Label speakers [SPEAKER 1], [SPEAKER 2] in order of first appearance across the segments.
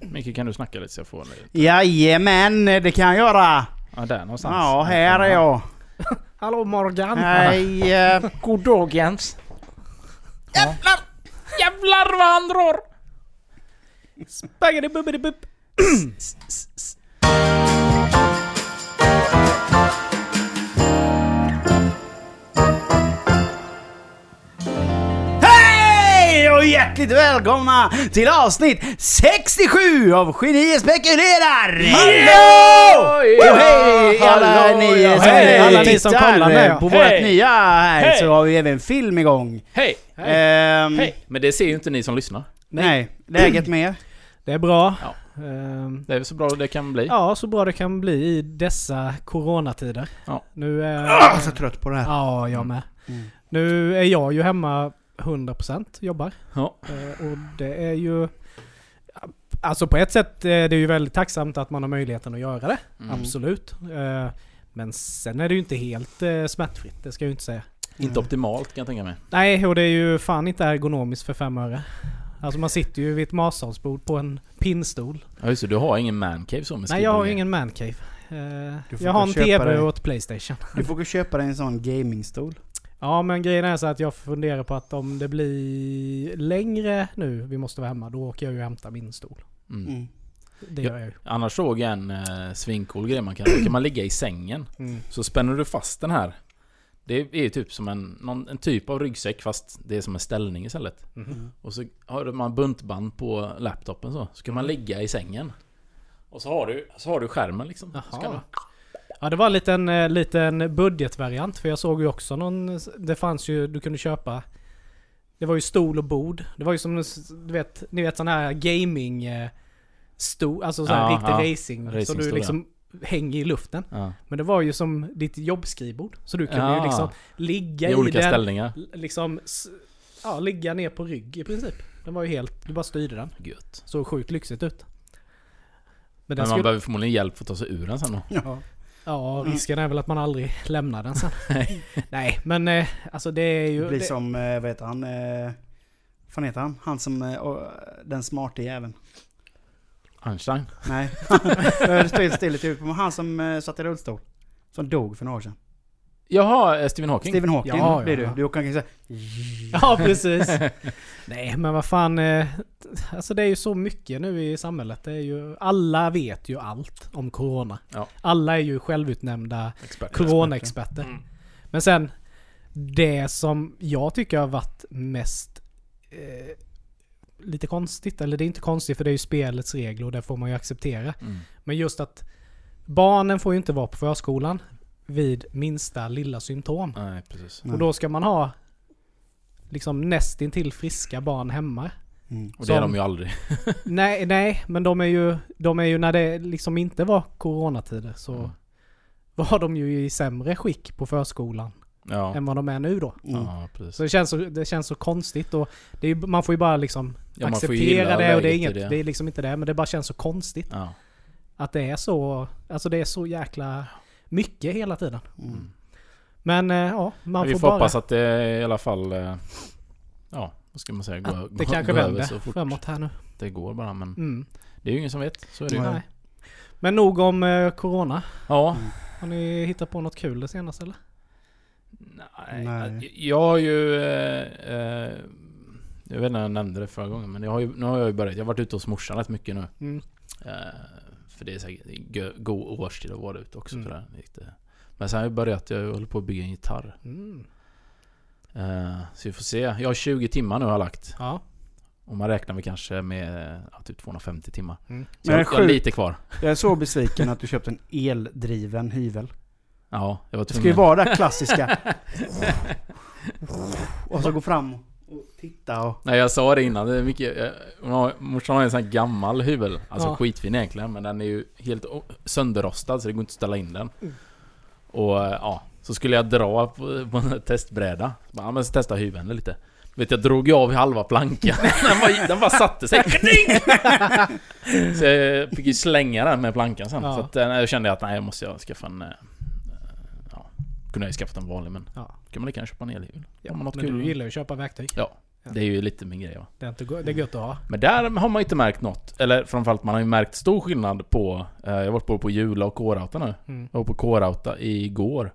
[SPEAKER 1] Micke kan du snacka lite så jag får en...
[SPEAKER 2] Jajamän, det kan jag göra.
[SPEAKER 1] Ja, där någonstans.
[SPEAKER 2] Ja, här är jag.
[SPEAKER 3] Hallå Morgan!
[SPEAKER 2] Hej. eh,
[SPEAKER 3] God dag Jens!
[SPEAKER 1] Jävlar! Jävlar vad han drar!
[SPEAKER 3] Spaggadibubbadibubb!
[SPEAKER 2] Hej och hjärtligt välkomna till avsnitt 67 av Genier spekulerar! Hallå! Och hej alla ni som,
[SPEAKER 3] Hej!
[SPEAKER 2] alla ni som
[SPEAKER 3] Tittar,
[SPEAKER 2] kollar
[SPEAKER 3] ja.
[SPEAKER 2] med på
[SPEAKER 1] Hej!
[SPEAKER 2] vårt nya här
[SPEAKER 1] Hej!
[SPEAKER 2] så har vi även film igång.
[SPEAKER 1] Hej!
[SPEAKER 2] Ehm,
[SPEAKER 1] Hej! Men det ser ju inte ni som lyssnar.
[SPEAKER 2] Nej, läget med er?
[SPEAKER 3] Det är bra.
[SPEAKER 1] Ja.
[SPEAKER 3] Ehm,
[SPEAKER 1] Det är så bra det kan bli.
[SPEAKER 3] ja, så bra det kan bli i dessa coronatider.
[SPEAKER 1] Ja.
[SPEAKER 3] Nu är...
[SPEAKER 1] Ah!
[SPEAKER 2] Jag är så trött på det här.
[SPEAKER 3] Ja, jag med.
[SPEAKER 2] Mm.
[SPEAKER 3] Nu är jag ju hemma 100% jobbar.
[SPEAKER 1] Ja.
[SPEAKER 3] Eh, Och det är ju... Alltså på ett sätt är det ju väldigt tacksamt att man har möjligheten att göra det.
[SPEAKER 1] Mm.
[SPEAKER 3] Absolut. Eh, Men sen är det ju inte helt eh, smärtfritt, det ska jag ju inte säga.
[SPEAKER 1] Inte optimalt kan jag tänka mig.
[SPEAKER 3] Nej, och det är ju fan inte ergonomiskt för fem öre. Alltså man sitter ju vid ett matsalsbord på en pinnstol.
[SPEAKER 1] Ja just det, du har ingen mancave så med
[SPEAKER 3] Nej, jag har
[SPEAKER 1] skateboardgrejer.
[SPEAKER 3] ju ingen mancave. Eh,
[SPEAKER 2] Du får
[SPEAKER 3] jag har
[SPEAKER 2] gå
[SPEAKER 3] en
[SPEAKER 2] och köpa
[SPEAKER 3] TV
[SPEAKER 2] dig.
[SPEAKER 3] och ett Playstation.
[SPEAKER 2] Du får gå och köpa dig en sån gamingstol.
[SPEAKER 3] Ja, men grejen är så att jag funderar på att om det blir längre nu vi måste vara hemma, då åker jag ju och hämtar min stol.
[SPEAKER 1] Mm.
[SPEAKER 2] Mm.
[SPEAKER 3] Det
[SPEAKER 1] Ja.
[SPEAKER 3] gör jag ju.
[SPEAKER 1] Annars såg jag en eh, svincool grej man kan Kan man ligga i sängen
[SPEAKER 3] Mm.
[SPEAKER 1] så spänner du fast den här. Det är ju typ som en, någon, en typ av ryggsäck fast det är som en ställning istället.
[SPEAKER 3] Mhm.
[SPEAKER 1] Och så har man buntband på laptopen så. Så kan man ligga i sängen. Och så har du, så har du skärmen liksom. Så kan
[SPEAKER 3] Jaha.
[SPEAKER 1] du,
[SPEAKER 3] Ja, det var en liten, eh, liten budgetvariant. För jag såg ju också någon... Det fanns ju... Du kunde köpa... Det var ju stol och bord. Det var ju som... Du vet, ni vet sån här gaming... eh, Stor, alltså sån här
[SPEAKER 1] Ja,
[SPEAKER 3] riktig
[SPEAKER 1] ja.
[SPEAKER 3] racing. så
[SPEAKER 1] Racingstol,
[SPEAKER 3] du liksom hänger i luften.
[SPEAKER 1] ja.
[SPEAKER 3] Men det var ju som ditt jobbskrivbord. Så du kunde
[SPEAKER 1] Ja.
[SPEAKER 3] ju liksom ligga i,
[SPEAKER 1] Ah. I olika
[SPEAKER 3] den.
[SPEAKER 1] ställningar.
[SPEAKER 3] l- Liksom... s- Ja, ligga ner på rygg i princip. Den var ju helt... Du bara styrde den.
[SPEAKER 1] Gött.
[SPEAKER 3] Såg sjukt lyxigt ut. Men,
[SPEAKER 1] Men
[SPEAKER 3] den
[SPEAKER 1] man Mm.
[SPEAKER 3] skulle-
[SPEAKER 1] behöver förmodligen hjälp för att ta sig ur den sen då.
[SPEAKER 2] Ja.
[SPEAKER 3] Ja, risken är väl att man aldrig lämnar den sen. Nej, men eh, alltså det är
[SPEAKER 2] Det
[SPEAKER 3] ju...
[SPEAKER 2] blir
[SPEAKER 3] det,
[SPEAKER 2] som, eh, vad heter han? Eh, Vad fan heter han? Han som, eh, och- den smarte jäveln.
[SPEAKER 1] Einstein.
[SPEAKER 2] Nej. det står helt still i huvudet. Men han som eh, satt i rullstol. Som dog för några år sedan.
[SPEAKER 1] Jaha, eh, Stephen Hawking.
[SPEAKER 2] Stephen Hawking
[SPEAKER 3] Ja, ja,
[SPEAKER 2] blir
[SPEAKER 3] ja.
[SPEAKER 2] du. Du kan kanske säga
[SPEAKER 3] Ja, precis. Nej, men vad fan. eh, Alltså det är ju så mycket nu i samhället. Det är ju, alla vet ju allt om Corona.
[SPEAKER 1] Ja.
[SPEAKER 3] Alla är ju självutnämnda
[SPEAKER 1] Expert.
[SPEAKER 3] Corona-experter. Men sen, det som jag tycker har varit mest eh, lite konstigt, eller det är inte konstigt för det är ju spelets regler och det får man ju acceptera.
[SPEAKER 1] Mm.
[SPEAKER 3] Men just att barnen får ju inte vara på förskolan vid minsta lilla symptom.
[SPEAKER 1] Nej, precis.
[SPEAKER 2] Nej.
[SPEAKER 3] Och då ska man ha liksom nästintill friska barn hemma.
[SPEAKER 2] Mm.
[SPEAKER 1] Och det är
[SPEAKER 3] Som-
[SPEAKER 1] de ju aldrig.
[SPEAKER 3] Nej, nej, men de är ju, de är ju när det liksom inte var coronatider så
[SPEAKER 1] Mm.
[SPEAKER 3] var de ju i sämre skick på förskolan
[SPEAKER 1] Ja.
[SPEAKER 3] än vad de är nu då.
[SPEAKER 2] Mm.
[SPEAKER 1] Ja, precis.
[SPEAKER 3] Så det känns så, det känns så konstigt och det är, ju- man får ju bara liksom
[SPEAKER 1] Ja, man får ju
[SPEAKER 3] acceptera
[SPEAKER 1] gilla
[SPEAKER 3] det och det
[SPEAKER 1] läget
[SPEAKER 3] är,
[SPEAKER 1] i
[SPEAKER 3] inget,
[SPEAKER 1] det.
[SPEAKER 3] det är liksom inte det, men det bara känns så konstigt
[SPEAKER 1] Ja.
[SPEAKER 3] att det är så, alltså det är så jäkla mycket hela tiden.
[SPEAKER 2] Mm.
[SPEAKER 3] Men eh, ja, man
[SPEAKER 1] Men vi
[SPEAKER 3] får
[SPEAKER 1] får,
[SPEAKER 3] bara...
[SPEAKER 1] hoppas att det i alla fall... eh, Ja, vad ska man säga? Gå,
[SPEAKER 3] att det
[SPEAKER 1] gå,
[SPEAKER 3] kanske
[SPEAKER 1] gå över så
[SPEAKER 3] vänder
[SPEAKER 1] fort
[SPEAKER 3] framåt här nu.
[SPEAKER 1] det går bara. Men
[SPEAKER 3] Mm.
[SPEAKER 1] det är ju ingen som vet. Så är det ju.
[SPEAKER 2] Nej.
[SPEAKER 3] Nej. Men nog om eh, Corona.
[SPEAKER 1] Ja.
[SPEAKER 3] Har ni hittat på något kul det senaste eller?
[SPEAKER 1] Nej.
[SPEAKER 2] Nej.
[SPEAKER 1] Jag har ju... eh, eh, Jag vet inte om jag nämnde det förra gången, men jag har ju, nu har jag ju börjat. Jag har varit ute hos morsan rätt mycket nu.
[SPEAKER 3] Mm.
[SPEAKER 1] Eh, För det är säkert gö- god årstid att vara ute också.
[SPEAKER 3] Mm.
[SPEAKER 1] sådär. Lite. Men sen har jag börjat, jag håller på att bygga en gitarr.
[SPEAKER 3] Mm.
[SPEAKER 1] Eh, Så vi får se. Jag har 20 timmar nu har jag lagt.
[SPEAKER 3] Ja.
[SPEAKER 1] Om man räknar med kanske med ja, typ 250 timmar.
[SPEAKER 3] Mm.
[SPEAKER 1] Så jag,
[SPEAKER 2] Men det är
[SPEAKER 1] jag har
[SPEAKER 2] sjukt.
[SPEAKER 1] lite kvar.
[SPEAKER 2] Jag är så besviken att du köpte en eldriven hyvel.
[SPEAKER 1] Ja, jag var
[SPEAKER 2] Det ska ju
[SPEAKER 1] tvungen.
[SPEAKER 2] vara det här klassiska. Och så gå fram och titta och...
[SPEAKER 1] Nej jag sa det innan, det är mycket, eh, hon har, morsan har en sån här gammal hyvel. Alltså
[SPEAKER 3] Ja.
[SPEAKER 1] skitfin egentligen men den är ju helt o- sönderrostad så det går inte att ställa in den.
[SPEAKER 3] Mm.
[SPEAKER 1] Och eh, ja, så skulle jag dra på, på en testbräda. Så bara, Ja men så testa hyveln lite. Vet jag drog ju av halva plankan. Den bara, den bara satte sig. Kading! så jag fick ju slänga den med plankan sen.
[SPEAKER 3] Ja.
[SPEAKER 1] Så att, eh, jag kände att nej jag måste jag skaffa en... eh, eh, Ja, kunde jag ju skaffat en vanlig men
[SPEAKER 3] ja.
[SPEAKER 1] kan man lika gärna köpa en elhyvel.
[SPEAKER 3] ja
[SPEAKER 1] Om man har något
[SPEAKER 3] men
[SPEAKER 1] kul.
[SPEAKER 3] du gillar ju att köpa verktyg.
[SPEAKER 1] Ja. Det är ju lite min grej va.
[SPEAKER 3] Det är, inte, go- det är gött att ha.
[SPEAKER 1] Men där har man ju inte märkt något. Eller framförallt, man har ju märkt stor skillnad på... Eh, jag har varit både på Jula och Kårauta nu.
[SPEAKER 3] Mm.
[SPEAKER 1] Jag var på Kårauta igår.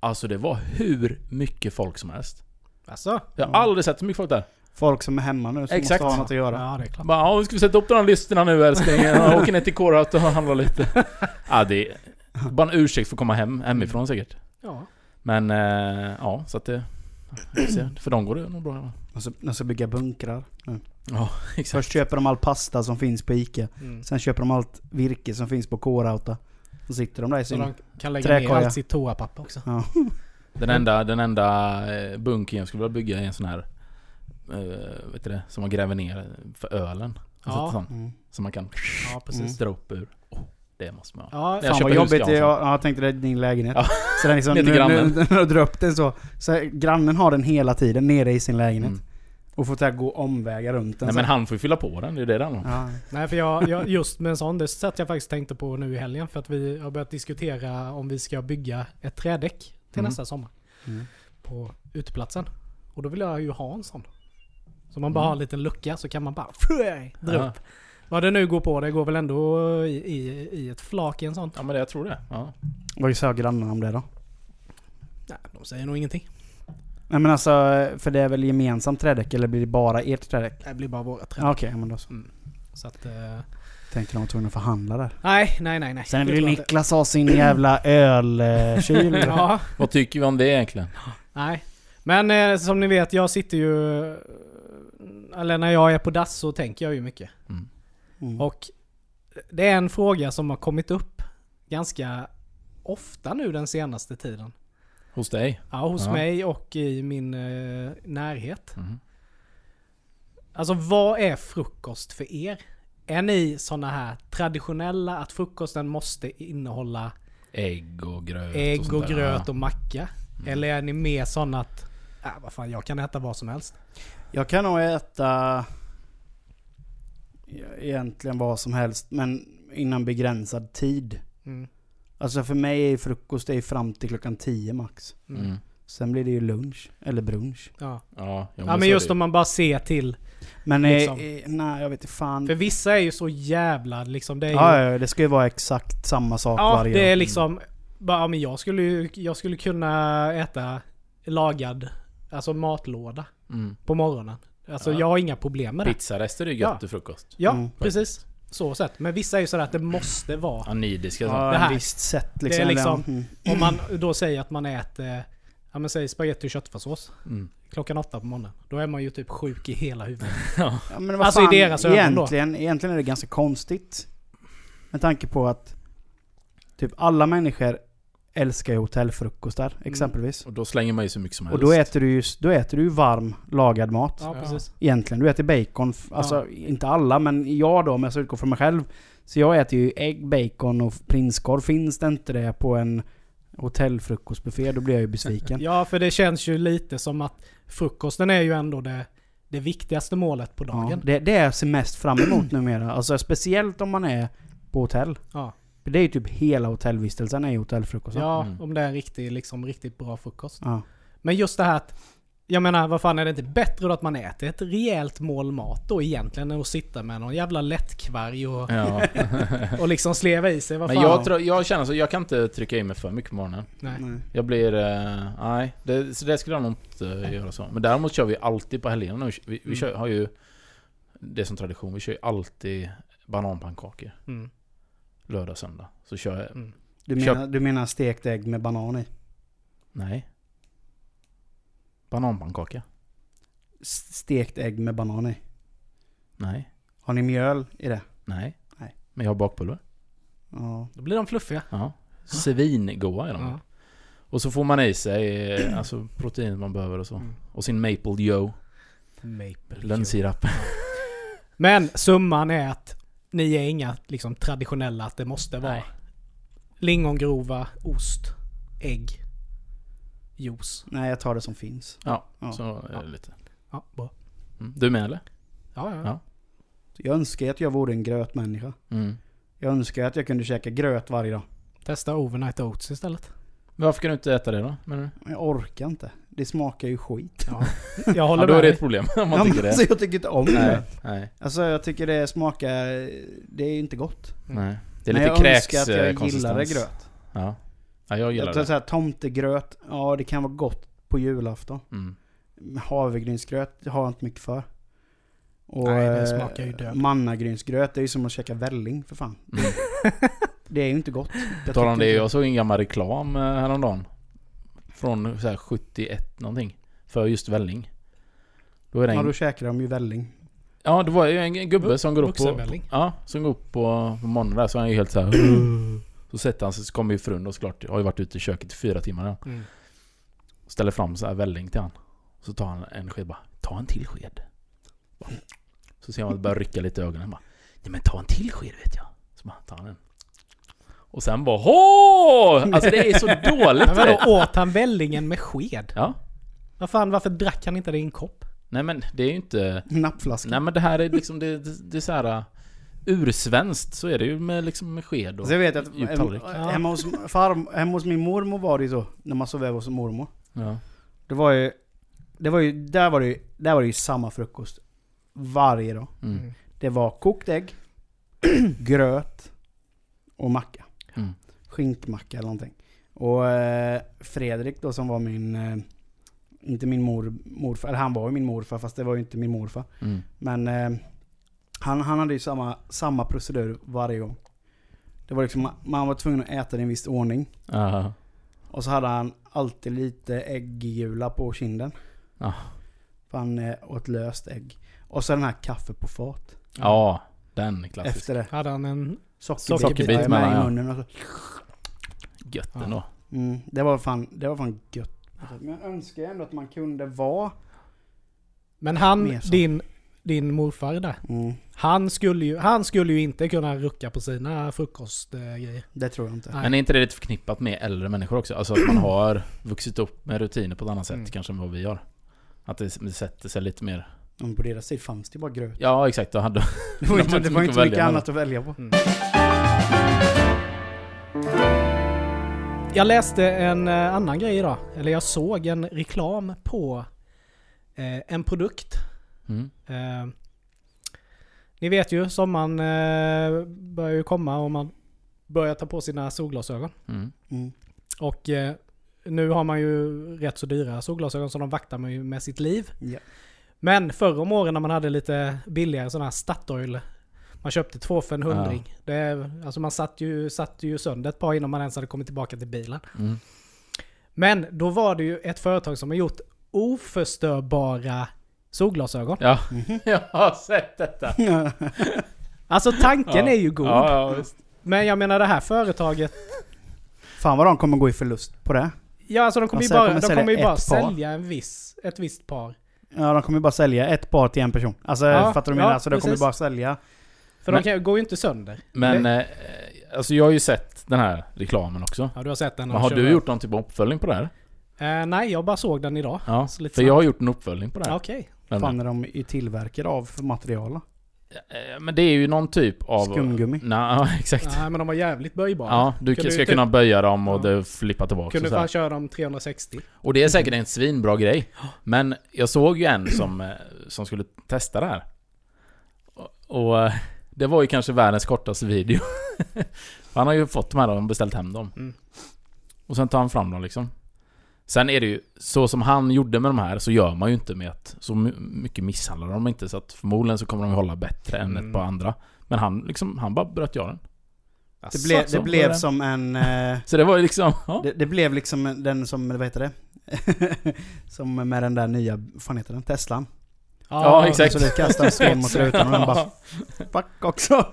[SPEAKER 1] Alltså det var hur mycket folk som helst.
[SPEAKER 3] Alltså?
[SPEAKER 1] Jag har aldrig sett så mycket folk där.
[SPEAKER 2] Folk som är hemma nu som
[SPEAKER 1] Exakt.
[SPEAKER 2] måste ha något att göra.
[SPEAKER 3] Ja, det är klart.
[SPEAKER 1] Bara, ja, vi ska vi sätta upp de här listorna nu älskling. Jag åker ner till Kårauta och handlar lite. Ja, det är bara en ursäkt för att komma hem, hemifrån säkert.
[SPEAKER 3] Ja.
[SPEAKER 1] Men eh, ja, så att det... vi får se. För dem går det nog bra. i alla fall.
[SPEAKER 2] De ska, de ska bygga bunkrar. nu.
[SPEAKER 1] Ja, exakt.
[SPEAKER 2] Först köper de all pasta som finns på Ica.
[SPEAKER 3] Mm.
[SPEAKER 2] Sen köper de allt virke som finns på K-Rauta. Så sitter de där i
[SPEAKER 3] Så de
[SPEAKER 2] sin...
[SPEAKER 3] kan lägga
[SPEAKER 2] Träkoja.
[SPEAKER 3] ner allt sitt toapapper också.
[SPEAKER 2] Ja.
[SPEAKER 1] Den enda, den enda eh, bunkern jag skulle vilja bygga är en sån här... Eh, vet du det? Som man gräver ner för ölen. Alltså
[SPEAKER 3] Ja.
[SPEAKER 1] sån,
[SPEAKER 2] Mm.
[SPEAKER 1] som man kan
[SPEAKER 3] Ja, precis.
[SPEAKER 1] dra upp ur. Oh, det måste man ha.
[SPEAKER 3] Ja,
[SPEAKER 1] Jag
[SPEAKER 2] Fan vad
[SPEAKER 1] köper
[SPEAKER 2] jobbigt det är.
[SPEAKER 1] husgran,
[SPEAKER 2] Ja, jag tänkte det är din lägenhet.
[SPEAKER 1] Ja.
[SPEAKER 2] Så den liksom,
[SPEAKER 1] Ner
[SPEAKER 2] nu,
[SPEAKER 1] till grannen.
[SPEAKER 2] nu, nu drar upp den så. så här, grannen har den hela tiden nere i sin lägenhet.
[SPEAKER 1] Mm.
[SPEAKER 2] Och får så här, gå omvägar runt den.
[SPEAKER 1] Nej
[SPEAKER 2] så.
[SPEAKER 1] men han får ju fylla på den, det är det det handlar om.
[SPEAKER 2] ja.
[SPEAKER 3] Nej, för jag, jag, just med en sån, det satt jag faktiskt tänkte på nu i helgen. För att vi har börjat diskutera om vi ska bygga ett trädäck till
[SPEAKER 1] Mm.
[SPEAKER 3] nästa sommar.
[SPEAKER 2] Mm.
[SPEAKER 3] På uteplatsen. Och då vill jag ju ha en sån. Så man bara har en liten lucka så kan man bara dra
[SPEAKER 1] Ja.
[SPEAKER 3] upp. Vad det nu går på, det går väl ändå i, i, i ett flak i en sån.
[SPEAKER 1] Ja men det, jag tror det. Ja.
[SPEAKER 2] Vad sa grannarna om det då?
[SPEAKER 3] Nej, de säger nog ingenting.
[SPEAKER 2] Nej men alltså, för det är väl gemensamt trädäck eller blir det bara ert trädäck?
[SPEAKER 3] Det blir bara våra träd. Mm.
[SPEAKER 2] Ja, Okej, ja, men då så.
[SPEAKER 3] Så att, eh,
[SPEAKER 2] Tänkte de var tvungna att förhandla där.
[SPEAKER 3] nej, nej, nej, nej.
[SPEAKER 2] Sen
[SPEAKER 3] Det
[SPEAKER 2] vill
[SPEAKER 3] tror jag inte.
[SPEAKER 2] Niklas ha sin jävla ölkyl.
[SPEAKER 3] Ja,
[SPEAKER 1] Vad tycker vi om det egentligen?
[SPEAKER 3] Nej. Men eh, som ni vet, jag sitter ju... eh, Eller när jag är på dass så tänker jag ju mycket.
[SPEAKER 2] Mm.
[SPEAKER 3] Och det är en fråga som har kommit upp ganska ofta nu den senaste tiden.
[SPEAKER 1] Hos dig?
[SPEAKER 3] Ja, hos
[SPEAKER 1] Ja.
[SPEAKER 3] mig och i min eh, närhet.
[SPEAKER 1] Mhm.
[SPEAKER 3] Alltså vad är frukost för er? Är ni sådana här traditionella att frukosten måste innehålla
[SPEAKER 1] Ägg och gröt och
[SPEAKER 3] ägg
[SPEAKER 1] sånt
[SPEAKER 3] och
[SPEAKER 1] där. Mm.
[SPEAKER 3] gröt och macka? Eller är ni mer sådana att, äh, vad fan, jag kan äta vad som helst?
[SPEAKER 2] Jag kan nog äta egentligen vad som helst men innan begränsad tid.
[SPEAKER 3] Mm.
[SPEAKER 2] Alltså för mig är frukost det är fram till klockan 10 max.
[SPEAKER 1] Ja. Mm.
[SPEAKER 2] Sen blir det ju lunch, eller brunch.
[SPEAKER 3] Ja.
[SPEAKER 1] Ja, jo,
[SPEAKER 3] Ja men
[SPEAKER 1] så är
[SPEAKER 3] just
[SPEAKER 1] det
[SPEAKER 3] om
[SPEAKER 1] ju.
[SPEAKER 3] man bara ser till.
[SPEAKER 2] Men
[SPEAKER 3] Liksom.
[SPEAKER 2] eh, eh, nej jag vet inte fan.
[SPEAKER 3] För vissa är ju så jävla liksom. Det är ju,
[SPEAKER 2] Ja,
[SPEAKER 3] ja,
[SPEAKER 2] ja, ja, det ska ju vara exakt samma sak varje
[SPEAKER 3] det
[SPEAKER 2] dag.
[SPEAKER 3] är liksom. Bara, ja, men jag skulle ju jag skulle kunna äta lagad, alltså matlåda
[SPEAKER 1] Mm.
[SPEAKER 3] på morgonen. Alltså
[SPEAKER 1] Ja.
[SPEAKER 3] jag har inga problem med det.
[SPEAKER 1] Pizzarester är ju gött
[SPEAKER 3] Ja.
[SPEAKER 1] till frukost.
[SPEAKER 3] Ja,
[SPEAKER 2] Mm.
[SPEAKER 3] precis. Så sett. Men vissa är ju sådär att det måste vara.
[SPEAKER 1] Ja, nidiska och
[SPEAKER 2] Ja,
[SPEAKER 1] sånt.
[SPEAKER 3] liksom det här.
[SPEAKER 2] ett visst sätt liksom.
[SPEAKER 3] är liksom-
[SPEAKER 2] Mm.
[SPEAKER 3] Om man då säger att man äter, ja men säg spagetti och köttfärssås.
[SPEAKER 1] Mm.
[SPEAKER 3] Klockan åtta på morgonen. Då är man ju typ sjuk i hela huvudet.
[SPEAKER 2] Ja, men vad
[SPEAKER 3] Alltså i
[SPEAKER 2] fan,
[SPEAKER 3] deras ögon då.
[SPEAKER 2] egentligen, egentligen är det ganska konstigt. Med tanke på att typ alla människor älskar ju hotellfrukostar
[SPEAKER 3] Mm.
[SPEAKER 2] exempelvis.
[SPEAKER 1] Och då slänger man ju så mycket som
[SPEAKER 2] Och
[SPEAKER 1] helst.
[SPEAKER 2] då äter, du ju, då äter du ju varm lagad mat.
[SPEAKER 3] Ja,
[SPEAKER 1] Ja.
[SPEAKER 3] precis.
[SPEAKER 2] Egentligen. Du äter bacon. f- Alltså inte alla men jag då om jag ska utgå från mig själv. Så jag äter ju ägg, bacon och prinskorv. Finns det inte det på en hotellfrukostbuffé då blir jag ju besviken.
[SPEAKER 3] Ja, för det känns ju lite som att frukosten är ju ändå det, det viktigaste målet på
[SPEAKER 2] Ja,
[SPEAKER 3] dagen.
[SPEAKER 2] det, det är jag ser mest fram emot numera. Alltså speciellt om man är på hotell.
[SPEAKER 3] Ja,
[SPEAKER 2] För Det är ju typ hela hotellvistelsen är ju hotellfrukosten.
[SPEAKER 3] ja
[SPEAKER 1] Mm.
[SPEAKER 3] om det är en riktig, liksom, riktigt bra frukost.
[SPEAKER 2] Ja.
[SPEAKER 3] Men just det här att, jag menar vad fan är det inte bättre då att man äter ett rejält mål mat då egentligen än att sitta med någon jävla lättkvarg och,
[SPEAKER 1] Ja.
[SPEAKER 3] och liksom sleva i sig. Vad
[SPEAKER 1] Men
[SPEAKER 3] fan?
[SPEAKER 1] jag, tror, jag känner så, jag kan inte trycka i mig för mycket på morgonen.
[SPEAKER 3] Nej.
[SPEAKER 2] Nej.
[SPEAKER 1] Jag blir... eh, nej, det, så det skulle jag nog inte göra så. Men däremot kör vi alltid på helgerna nu. Vi, vi kör, har ju... Det är som tradition, vi kör ju alltid bananpannkakor.
[SPEAKER 3] Mm.
[SPEAKER 1] Lördag, söndag. Så kör jag...
[SPEAKER 2] Du,
[SPEAKER 1] Köp-
[SPEAKER 2] menar, du menar stekt ägg med banan i?
[SPEAKER 1] Nej. Bananpannkaka?
[SPEAKER 2] S- Stekt ägg med banan i.
[SPEAKER 1] Nej.
[SPEAKER 2] Har ni mjöl i det?
[SPEAKER 1] Nej.
[SPEAKER 2] Nej.
[SPEAKER 1] Men jag har bakpulver.
[SPEAKER 2] Ja.
[SPEAKER 3] Då blir de fluffiga.
[SPEAKER 1] Ja. Svingoa är de.
[SPEAKER 3] Ja.
[SPEAKER 1] Och så får man i sig eh, alltså, protein man behöver och så.
[SPEAKER 3] Mm.
[SPEAKER 1] Och sin Maple Joe.
[SPEAKER 3] Maple
[SPEAKER 1] Lönnsirap.
[SPEAKER 3] Men summan är att ni är inga liksom, traditionella att det måste vara
[SPEAKER 1] Nej.
[SPEAKER 3] lingongrova, ost, ägg, juice.
[SPEAKER 2] Nej, jag tar det som finns.
[SPEAKER 1] Ja,
[SPEAKER 2] Ja.
[SPEAKER 1] så är det lite.
[SPEAKER 3] Ja, bra.
[SPEAKER 1] Mm. Du med eller?
[SPEAKER 3] Ja, ja.
[SPEAKER 1] Ja.
[SPEAKER 2] Jag önskar att jag vore en grötmänniska.
[SPEAKER 1] Mm.
[SPEAKER 2] Jag önskar att jag kunde käka gröt varje dag.
[SPEAKER 3] Testa overnight oats istället.
[SPEAKER 1] Men Varför kan du inte äta det då? menar du?
[SPEAKER 2] Men jag orkar inte. Det smakar ju skit.
[SPEAKER 3] Ja. Jag håller
[SPEAKER 1] Ja, då är
[SPEAKER 3] med
[SPEAKER 1] det
[SPEAKER 3] dig.
[SPEAKER 1] ett problem om
[SPEAKER 2] Ja,
[SPEAKER 1] man
[SPEAKER 2] men
[SPEAKER 1] tycker
[SPEAKER 2] alltså,
[SPEAKER 1] det.
[SPEAKER 2] jag tycker inte om
[SPEAKER 1] Nej,
[SPEAKER 2] det.
[SPEAKER 1] nej,
[SPEAKER 2] Alltså jag tycker det smakar... Det är inte gott.
[SPEAKER 1] nej. Det är lite
[SPEAKER 2] Men jag önskar att
[SPEAKER 1] kräks
[SPEAKER 2] jag
[SPEAKER 1] eh,
[SPEAKER 2] gillade
[SPEAKER 1] konsistens.
[SPEAKER 2] gröt.
[SPEAKER 1] Ja. ja, jag gillar
[SPEAKER 2] Jag tror
[SPEAKER 1] det.
[SPEAKER 2] så här, tomtegröt, ja det kan vara gott på julafton.
[SPEAKER 1] Mm.
[SPEAKER 2] Havregrynsgröt det har jag inte mycket för. Och
[SPEAKER 3] Nej, det
[SPEAKER 2] eh,
[SPEAKER 3] smakar ju död.
[SPEAKER 2] mannagrynsgröt, det är ju som att käka välling för fan.
[SPEAKER 1] Mm.
[SPEAKER 2] Det är ju inte gott.
[SPEAKER 1] På
[SPEAKER 2] Jag
[SPEAKER 1] tal om
[SPEAKER 2] tycker
[SPEAKER 1] det,
[SPEAKER 2] inte-
[SPEAKER 1] jag såg en gammal reklam eh, häromdagen. Från så här 71 någonting. För just välling. Då är det
[SPEAKER 2] Ja,
[SPEAKER 1] en,
[SPEAKER 2] då käkar de ju välling.
[SPEAKER 1] ja, det var ju en gubbe
[SPEAKER 3] Vu-
[SPEAKER 1] som går upp på...
[SPEAKER 3] vuxenvälling.
[SPEAKER 1] Ja, som går upp på, på morgonen där så är han ju helt så här. Så sätter han sig, så kommer ju frun då såklart. Jag har ju varit ute i köket i fyra timmar nu.
[SPEAKER 3] Mm.
[SPEAKER 1] Ställer fram så här välling till han. Så tar han en sked bara. Ta en till sked. Bara. Så ser man att det börjar rycka lite i ögonen. Bara, Nej men ta en till sked vet jag. Så bara tar han en. Och sen bara Hå! Alltså det är så dåligt.
[SPEAKER 3] Men
[SPEAKER 1] vet.
[SPEAKER 3] vadå, åt han vällingen med sked?
[SPEAKER 1] Ja.
[SPEAKER 3] Vad fan, varför drack han inte det i en kopp?
[SPEAKER 1] Nej men det är ju inte...
[SPEAKER 2] Nappflaska.
[SPEAKER 1] Nej men det här är liksom, det, det, det är så här... uh, Ursvenskt så är det ju med, liksom, med sked och
[SPEAKER 3] Alltså-
[SPEAKER 2] Så Alltså, jag vet att
[SPEAKER 1] djup tallrik.
[SPEAKER 2] hemma, hemma, hos farm, hemma hos min mormor var det ju så, när man sov över hos mormor.
[SPEAKER 1] Ja.
[SPEAKER 2] Det var ju, det var ju, där var det ju, där var det ju samma frukost. Varje dag.
[SPEAKER 1] Mm.
[SPEAKER 2] Det var kokt ägg, gröt och macka.
[SPEAKER 1] Mm.
[SPEAKER 2] Skinkmacka eller någonting. Och eh, Fredrik då som var min, eh, inte min mor, morfar, eller han var ju min morfar fast det var ju inte min morfar.
[SPEAKER 1] Mm.
[SPEAKER 2] Men eh, han, han hade ju samma, samma procedur varje gång. Det var liksom, man var tvungen att äta det i en viss ordning.
[SPEAKER 1] Ja.
[SPEAKER 2] Och så hade han alltid lite ägggula på kinden.
[SPEAKER 1] Ja.
[SPEAKER 2] För han eh, åt löst ägg. Och så den här kaffe på fat
[SPEAKER 1] ja, den är klassisk.
[SPEAKER 2] efter det.
[SPEAKER 3] Hade han en...
[SPEAKER 2] Sockerbit,
[SPEAKER 1] Sockerbit
[SPEAKER 2] var ju
[SPEAKER 1] mellan,
[SPEAKER 2] med
[SPEAKER 1] ja.
[SPEAKER 2] i munnen och så.
[SPEAKER 1] Gött
[SPEAKER 3] Ja.
[SPEAKER 1] ändå.
[SPEAKER 2] Mm, det, var fan, det var fan gött. Men jag önskar ändå att man kunde vara...
[SPEAKER 3] Men han,
[SPEAKER 2] Mer så.
[SPEAKER 3] din, din morfar där.
[SPEAKER 2] Mm,
[SPEAKER 3] Han skulle, ju, han skulle ju inte kunna rucka på sina eh, frukostgrejer.
[SPEAKER 2] det tror jag inte.
[SPEAKER 3] Nej.
[SPEAKER 1] Men är inte det lite förknippat med äldre människor också? Alltså att man har vuxit upp med rutiner på ett annat sätt
[SPEAKER 3] Mm.
[SPEAKER 1] kanske än vad vi gör. Att det, det sätter sig lite mer...
[SPEAKER 2] Men på deras tid fanns det ju bara gröt.
[SPEAKER 1] Ja exakt, då hade
[SPEAKER 2] Det var
[SPEAKER 1] De
[SPEAKER 2] ju
[SPEAKER 1] har
[SPEAKER 2] inte,
[SPEAKER 1] inte
[SPEAKER 2] det var ju
[SPEAKER 1] mycket
[SPEAKER 2] inte mycket
[SPEAKER 1] att välja
[SPEAKER 2] annat att välja på.
[SPEAKER 3] Jag läste en eh, annan grej idag. Eller jag såg en reklam på eh, en produkt.
[SPEAKER 1] mm.
[SPEAKER 3] Eh, ni vet ju, sommaren eh, börjar ju komma och man börjar ta på sina solglasögon.
[SPEAKER 1] Mm.
[SPEAKER 2] Mm.
[SPEAKER 3] Och eh, nu har man ju rätt så dyra solglasögon som de vaktar man ju med sitt liv.
[SPEAKER 2] Ja.
[SPEAKER 3] Men förr om åren när man hade lite billigare sådana här Statoil. Man köpte två för en hundring. Det, alltså man satt ju, satt ju sönder ett par innan man ens hade kommit tillbaka till bilen.
[SPEAKER 1] Mm.
[SPEAKER 3] Men då var det ju ett företag som har gjort oförstörbara solglasögon.
[SPEAKER 1] Ja, jag har sett detta.
[SPEAKER 2] Mm.
[SPEAKER 3] Alltså tanken är ju god.
[SPEAKER 1] Ja, ja visst.
[SPEAKER 3] Men jag menar det här företaget.
[SPEAKER 2] Fan vad de kommer gå i förlust på det.
[SPEAKER 3] Ja alltså de kommer
[SPEAKER 2] Alltså,
[SPEAKER 3] ju
[SPEAKER 2] jag kommer
[SPEAKER 3] bara, de
[SPEAKER 2] sälja
[SPEAKER 3] kommer ju bara
[SPEAKER 2] ett par.
[SPEAKER 3] sälja en viss, ett visst par.
[SPEAKER 2] Ja, de kommer ju bara sälja ett par till en person. Alltså
[SPEAKER 3] Ja,
[SPEAKER 2] fattar du vad jag menar?
[SPEAKER 3] ja,
[SPEAKER 2] Så de kommer
[SPEAKER 3] precis.
[SPEAKER 2] bara sälja.
[SPEAKER 3] För
[SPEAKER 1] Men-
[SPEAKER 3] de kan, går ju inte sönder.
[SPEAKER 1] Men eh, alltså jag har ju sett den här reklamen också.
[SPEAKER 3] Ja, du har sett den. när
[SPEAKER 1] Men har
[SPEAKER 3] de
[SPEAKER 1] du
[SPEAKER 3] kör
[SPEAKER 1] gjort någon typ av uppföljning på det här? Alltså
[SPEAKER 3] över. Eh, nej, jag bara såg den idag.
[SPEAKER 1] Ja,
[SPEAKER 3] Så lite
[SPEAKER 1] för jag har gjort en uppföljning på det
[SPEAKER 3] snabbt.
[SPEAKER 1] här.
[SPEAKER 3] Okej.
[SPEAKER 1] Men,
[SPEAKER 2] Fan är de ju tillverkade av för material? då?
[SPEAKER 1] eh, men det är ju någon typ av...
[SPEAKER 2] Skumgummi.
[SPEAKER 1] Nej, ja, exakt.
[SPEAKER 3] Nej, men de var jävligt böjbara.
[SPEAKER 1] Ja, du
[SPEAKER 3] Kunde
[SPEAKER 1] ska
[SPEAKER 3] ju
[SPEAKER 1] kunna böja dem och
[SPEAKER 3] Ja.
[SPEAKER 1] det flippa tillbaka
[SPEAKER 3] Kunde
[SPEAKER 1] och så här.
[SPEAKER 3] fan köra dem 360.
[SPEAKER 1] Och
[SPEAKER 2] Mhm.
[SPEAKER 1] det är säkert en svinbra grej. Men jag såg ju en som, eh, som skulle testa det här. Och, och eh, det var ju kanske världens kortaste video. han har ju fått de här och beställt hem dem.
[SPEAKER 3] Mm.
[SPEAKER 1] Och sen tar han fram dem liksom. Sen är det ju, så som han gjorde med de här så gör man ju inte med att, så my- mycket misshandlar de inte så att förmodligen så kommer de ju hålla bättre än
[SPEAKER 3] Mm.
[SPEAKER 1] ett par andra. Men han liksom, han bara bröt göra den.
[SPEAKER 2] Det, blev-
[SPEAKER 1] så
[SPEAKER 2] det
[SPEAKER 1] var
[SPEAKER 2] blev
[SPEAKER 1] det.
[SPEAKER 2] som en... eh,
[SPEAKER 1] Så det var ju liksom, ja.
[SPEAKER 2] Det, det blev liksom den som, vad heter det? som med den där nya, vad fan heter den? Teslan. alltså,
[SPEAKER 1] Ja, exakt.
[SPEAKER 2] Så det kastade sten mot rutan och den bara fuck också.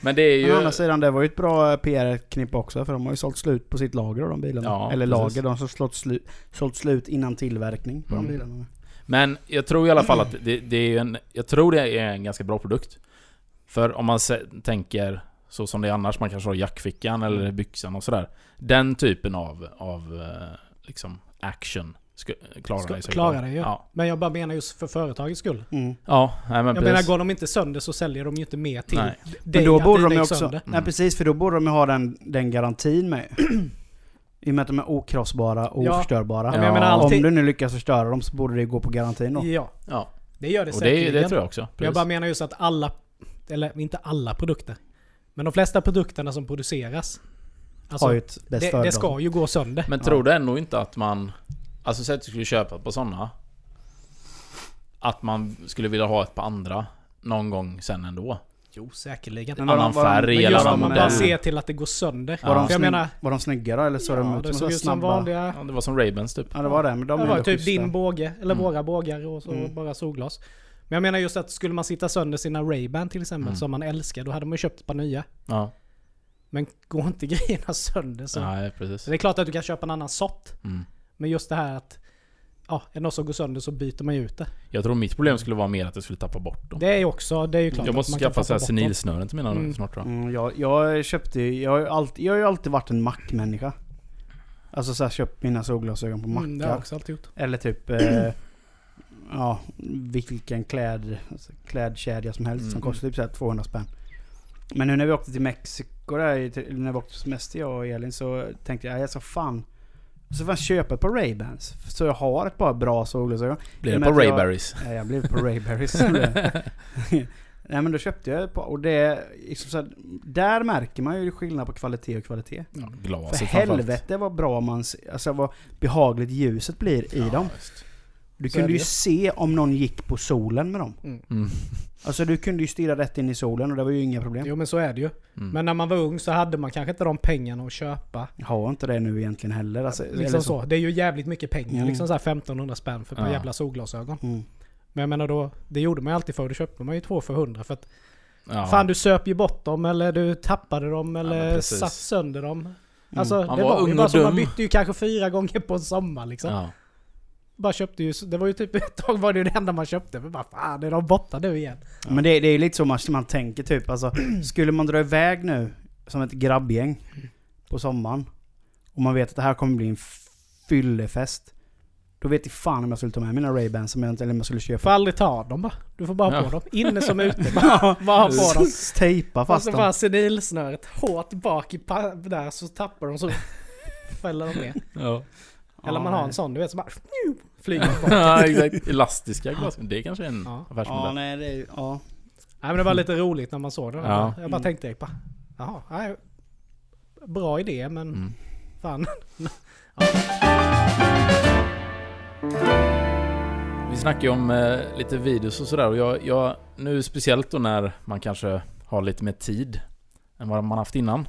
[SPEAKER 1] Men det är
[SPEAKER 2] Men å andra
[SPEAKER 1] ju...
[SPEAKER 2] sidan, det var ju ett bra PR-knipp också för de har ju sålt slut på sitt lager av de bilarna.
[SPEAKER 1] Ja,
[SPEAKER 2] Eller
[SPEAKER 1] precis.
[SPEAKER 2] lager, de har sålt slut, sålt slut innan tillverkning på
[SPEAKER 1] Mm.
[SPEAKER 2] de bilarna.
[SPEAKER 1] Men jag tror i alla fall att det, det är en... Jag tror det är en ganska bra produkt. För om man se, tänker så som det är annars, man kanske har i jackfickan eller i
[SPEAKER 3] Mm.
[SPEAKER 1] byxan och sådär. Den typen av, av eh, liksom action sku, klarar
[SPEAKER 3] Ska-
[SPEAKER 1] det sig.
[SPEAKER 3] klarar det ju.
[SPEAKER 1] Ja,
[SPEAKER 3] Men jag bara menar just för företagets skull.
[SPEAKER 2] Mm.
[SPEAKER 1] ja nej, men
[SPEAKER 3] Jag
[SPEAKER 1] precis.
[SPEAKER 3] menar, går de inte sönder så säljer de ju inte mer till
[SPEAKER 1] Nej.
[SPEAKER 3] dig
[SPEAKER 2] Men då
[SPEAKER 3] att
[SPEAKER 2] borde
[SPEAKER 3] det
[SPEAKER 2] de ju
[SPEAKER 3] gick
[SPEAKER 2] också...
[SPEAKER 3] sönder.
[SPEAKER 2] Nej precis, för då borde de ju ha den, den garantin med. I och med att de är okrossbara och
[SPEAKER 3] Ja.
[SPEAKER 2] oförstörbara.
[SPEAKER 1] Ja, men jag menar
[SPEAKER 2] Om
[SPEAKER 3] alltid-
[SPEAKER 2] du nu lyckas förstöra dem så borde det ju gå på garantin då.
[SPEAKER 3] Ja,
[SPEAKER 1] Ja.
[SPEAKER 3] det gör det
[SPEAKER 1] Och det,
[SPEAKER 3] säkerligen.
[SPEAKER 1] det tror jag också.
[SPEAKER 3] Men jag
[SPEAKER 1] Precis.
[SPEAKER 3] bara menar just att alla, eller inte alla produkter, men de flesta produkterna som produceras. Alltså,
[SPEAKER 2] Har ju ett bäst före
[SPEAKER 3] det, det
[SPEAKER 2] datum.
[SPEAKER 3] ska ju gå sönder.
[SPEAKER 1] Men tror du ändå inte att man... Alltså säg att du skulle köpa på sådana. Att man skulle vilja ha ett på andra någon gång sen ändå.
[SPEAKER 3] Jo, säkerligen.
[SPEAKER 2] Men
[SPEAKER 3] Men,
[SPEAKER 2] vad de-
[SPEAKER 1] Annan
[SPEAKER 2] vad de-
[SPEAKER 1] färg
[SPEAKER 2] men
[SPEAKER 1] eller
[SPEAKER 2] gör de
[SPEAKER 1] annan
[SPEAKER 2] med-
[SPEAKER 1] modell.
[SPEAKER 3] man ser till att det går sönder.
[SPEAKER 2] Var, de
[SPEAKER 3] För
[SPEAKER 2] snygg,
[SPEAKER 3] jag menar,
[SPEAKER 2] var de snyggare eller såg de
[SPEAKER 3] ja,
[SPEAKER 2] ut
[SPEAKER 3] det
[SPEAKER 2] som
[SPEAKER 3] såg
[SPEAKER 2] så
[SPEAKER 3] ut som
[SPEAKER 2] snabba?
[SPEAKER 3] vanliga
[SPEAKER 1] Ja, det var som Ravens typ.
[SPEAKER 2] Ja det var det, men de
[SPEAKER 3] det
[SPEAKER 2] är
[SPEAKER 3] var
[SPEAKER 2] ändå
[SPEAKER 3] typ
[SPEAKER 2] schyssta.
[SPEAKER 3] din båge, eller
[SPEAKER 1] Mm.
[SPEAKER 3] våra bågar och så
[SPEAKER 2] Mm.
[SPEAKER 3] bara solglas. Men jag menar just att skulle man sitta sönder sina Ray-Ban till exempel,
[SPEAKER 1] Mm.
[SPEAKER 3] som man älskar, då hade man ju köpt ett par nya.
[SPEAKER 1] Ja,
[SPEAKER 3] Men går inte grejerna sönder så...
[SPEAKER 1] nej precis.
[SPEAKER 3] så det är klart att du kan köpa en annan sort,
[SPEAKER 1] Mm.
[SPEAKER 3] men just det här att... Ja, är det något som går sönder så byter man ju ut det.
[SPEAKER 1] Jag tror mitt problem skulle vara mer att jag skulle tappa bort dem.
[SPEAKER 3] Det är ju också, det är ju klart
[SPEAKER 1] Jag måste
[SPEAKER 3] att man kan
[SPEAKER 1] skaffa så här
[SPEAKER 3] tappa bort dem.
[SPEAKER 1] senilsnören till mina
[SPEAKER 3] Mm.
[SPEAKER 1] snart tror jag.
[SPEAKER 2] Mm, jag, jag köpte ju, jag har ju alltid, jag har ju alltid varit en mackmänniska. Alltså såhär köpt mina solglasögon på mackar.
[SPEAKER 3] Mm, det har jag också alltid gjort.
[SPEAKER 2] Eller typ, eh, ja, vilken kläd, alltså, klädkedja som helst som
[SPEAKER 1] Mm.
[SPEAKER 2] kostar typ så här 200 spänn. Men nu när vi åkte till Mexiko där, i- till- när vi åkte på semester jag och Elin så tänkte jag, jag så fan. Så får jag köpa ett par Ray-Bans. Så jag har ett par bra solglasögon.
[SPEAKER 1] Blir
[SPEAKER 2] I och
[SPEAKER 1] det
[SPEAKER 2] med
[SPEAKER 1] på
[SPEAKER 2] att jag-
[SPEAKER 1] Rayberries?
[SPEAKER 2] Nej, Jag blev på Ray-Berries. Nej men då köpte jag ett par och det, är liksom så här, där märker man ju skillnad på kvalitet och kvalitet.
[SPEAKER 1] Ja,
[SPEAKER 2] För
[SPEAKER 1] glaset framförallt.
[SPEAKER 2] helvete vad bra man, se- alltså vad behagligt ljuset blir i
[SPEAKER 1] Ja,
[SPEAKER 2] dem.
[SPEAKER 1] visst.
[SPEAKER 2] Du
[SPEAKER 3] Så är
[SPEAKER 2] kunde
[SPEAKER 3] det
[SPEAKER 2] ju
[SPEAKER 3] ju.
[SPEAKER 2] se om någon gick på solen med dem.
[SPEAKER 1] Mm.
[SPEAKER 2] Alltså du kunde ju stirra rätt in i solen och det var ju inga problem.
[SPEAKER 3] Jo men så är det ju.
[SPEAKER 1] Mm.
[SPEAKER 3] Men när man var ung så hade man kanske inte de pengarna att köpa.
[SPEAKER 2] Jag har inte det nu egentligen heller. Alltså, eller
[SPEAKER 3] Liksom så. Det är ju jävligt mycket pengar.
[SPEAKER 2] Mm.
[SPEAKER 3] Liksom så här 1500 spänn för ett par
[SPEAKER 1] Ja.
[SPEAKER 3] jävla solglasögon.
[SPEAKER 2] Mm.
[SPEAKER 3] Men jag menar då, det gjorde man ju alltid förr. Då köpte man ju två för 100. För att
[SPEAKER 1] Ja.
[SPEAKER 3] fan du söp ju bort dem eller du tappade dem eller
[SPEAKER 1] men precis.
[SPEAKER 3] satt sönder dem.
[SPEAKER 2] Mm.
[SPEAKER 3] Alltså
[SPEAKER 1] Man
[SPEAKER 3] det
[SPEAKER 1] var
[SPEAKER 3] var, ju
[SPEAKER 1] ung
[SPEAKER 3] bara
[SPEAKER 1] och
[SPEAKER 3] så. Man
[SPEAKER 1] dum.
[SPEAKER 3] bytte ju kanske fyra gånger på en sommar liksom.
[SPEAKER 1] ja.
[SPEAKER 3] Bara köpte ju, det var ju typ ett tag var det ju det enda man köpte. Men bara fan är de borta nu igen?
[SPEAKER 2] Men det, det är ju lite så man, man tänker typ. Alltså, skulle man dra iväg nu som ett grabbgäng på sommaren och man vet att det här kommer bli en fyllefest. Då vet jag fan om jag skulle ta med mina Ray-Bans som jag inte, eller om jag skulle
[SPEAKER 3] Du får
[SPEAKER 2] köpa.
[SPEAKER 3] aldrig ta dem bara. Du får bara ha
[SPEAKER 1] Ja.
[SPEAKER 3] på dem. Inne som ute. Bara, bara ha på dem.
[SPEAKER 2] Tejpa
[SPEAKER 3] Och
[SPEAKER 2] fast
[SPEAKER 3] så
[SPEAKER 2] dem.
[SPEAKER 3] bara senilsnöret hårt bak i pa- där så tappar de så fäller de ner.
[SPEAKER 1] Ja.
[SPEAKER 3] Eller
[SPEAKER 2] Ja,
[SPEAKER 3] man har
[SPEAKER 2] nej.
[SPEAKER 3] en sån du vet som bara flyger bort.
[SPEAKER 1] ja, exakt. Elastiska glas. Det är kanske är en
[SPEAKER 3] Ja.
[SPEAKER 2] Ja,
[SPEAKER 1] affärsmodell.
[SPEAKER 2] nej, det, är- ja.
[SPEAKER 3] Nej men det var lite roligt när man såg den.
[SPEAKER 1] Ja.
[SPEAKER 3] Jag bara
[SPEAKER 2] Mm.
[SPEAKER 3] tänkte bara, jaha, nej, bra idé men
[SPEAKER 1] Mm.
[SPEAKER 3] fan.
[SPEAKER 1] Vi snackar ju om eh, lite videos och sådär och jag, jag, nu speciellt då när man kanske har lite mer tid än vad man haft innan.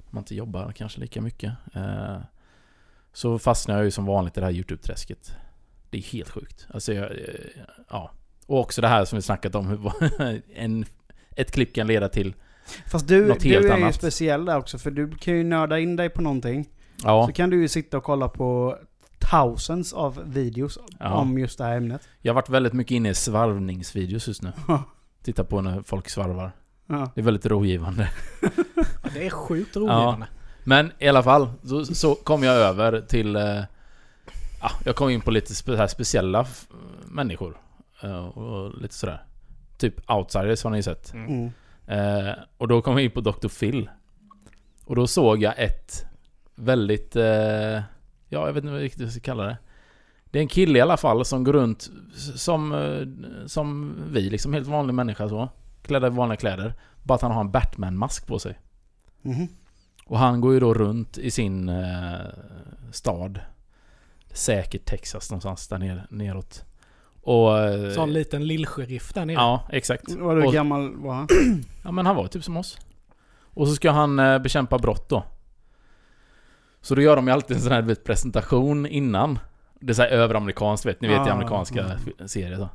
[SPEAKER 1] När man inte jobbar kanske lika mycket. Eh, så fastnar jag ju som vanligt i det här YouTube-träsket. Det är helt sjukt. Alltså jag, eh, ja. Och också det här som vi snackat om, hur vad- en, ett klipp kan leda till...
[SPEAKER 2] Fast du,
[SPEAKER 1] Något
[SPEAKER 2] du
[SPEAKER 1] helt
[SPEAKER 2] är ju
[SPEAKER 1] annat.
[SPEAKER 2] speciell där också för du kan ju nörda in dig på någonting.
[SPEAKER 1] Ja,
[SPEAKER 2] Så kan du ju sitta och kolla på thousands av videos
[SPEAKER 1] Ja.
[SPEAKER 2] om just det här ämnet.
[SPEAKER 1] jag har varit väldigt mycket inne i svarvningsvideos just nu. Titta på när folk svarvar.
[SPEAKER 2] Ja.
[SPEAKER 1] Det är väldigt rogivande.
[SPEAKER 3] Ja, Det är sjukt roligt.
[SPEAKER 1] Men i alla fall, så, så kom jag över till... Eh, ja, jag kom in på lite spe, så här speciella f- människor. Eh, och, och lite sådär. Typ outsiders har ni ju sett.
[SPEAKER 2] Mm.
[SPEAKER 1] Eh, och då kom jag in på Dr. Phil. Och då såg jag ett väldigt... Eh, ja, jag vet inte riktigt hur jag ska kalla det. Det är en kille i alla fall som går runt s- som, eh, som vi, liksom helt vanlig människa så. Klädda i vanliga kläder. Bara att han har en Batman-mask på sig.
[SPEAKER 2] Mhm.
[SPEAKER 1] Och han går ju då runt i sin eh, stad. Säkert Texas någonstans där ner, neråt. Och... Eh,
[SPEAKER 3] Sån liten lillsheriff där nere.
[SPEAKER 1] Ja, exakt.
[SPEAKER 2] Vadå, hur
[SPEAKER 1] Och-
[SPEAKER 2] gammal var han?
[SPEAKER 1] Ja men han var typ som oss. Och så ska han eh, bekämpa brott då. Så då gör de ju alltid en sån här du vet, presentation innan. Det är så här överamerikanskt vet ni, vet i
[SPEAKER 2] Ah,
[SPEAKER 1] amerikanska
[SPEAKER 2] mm.
[SPEAKER 1] fi- serier så.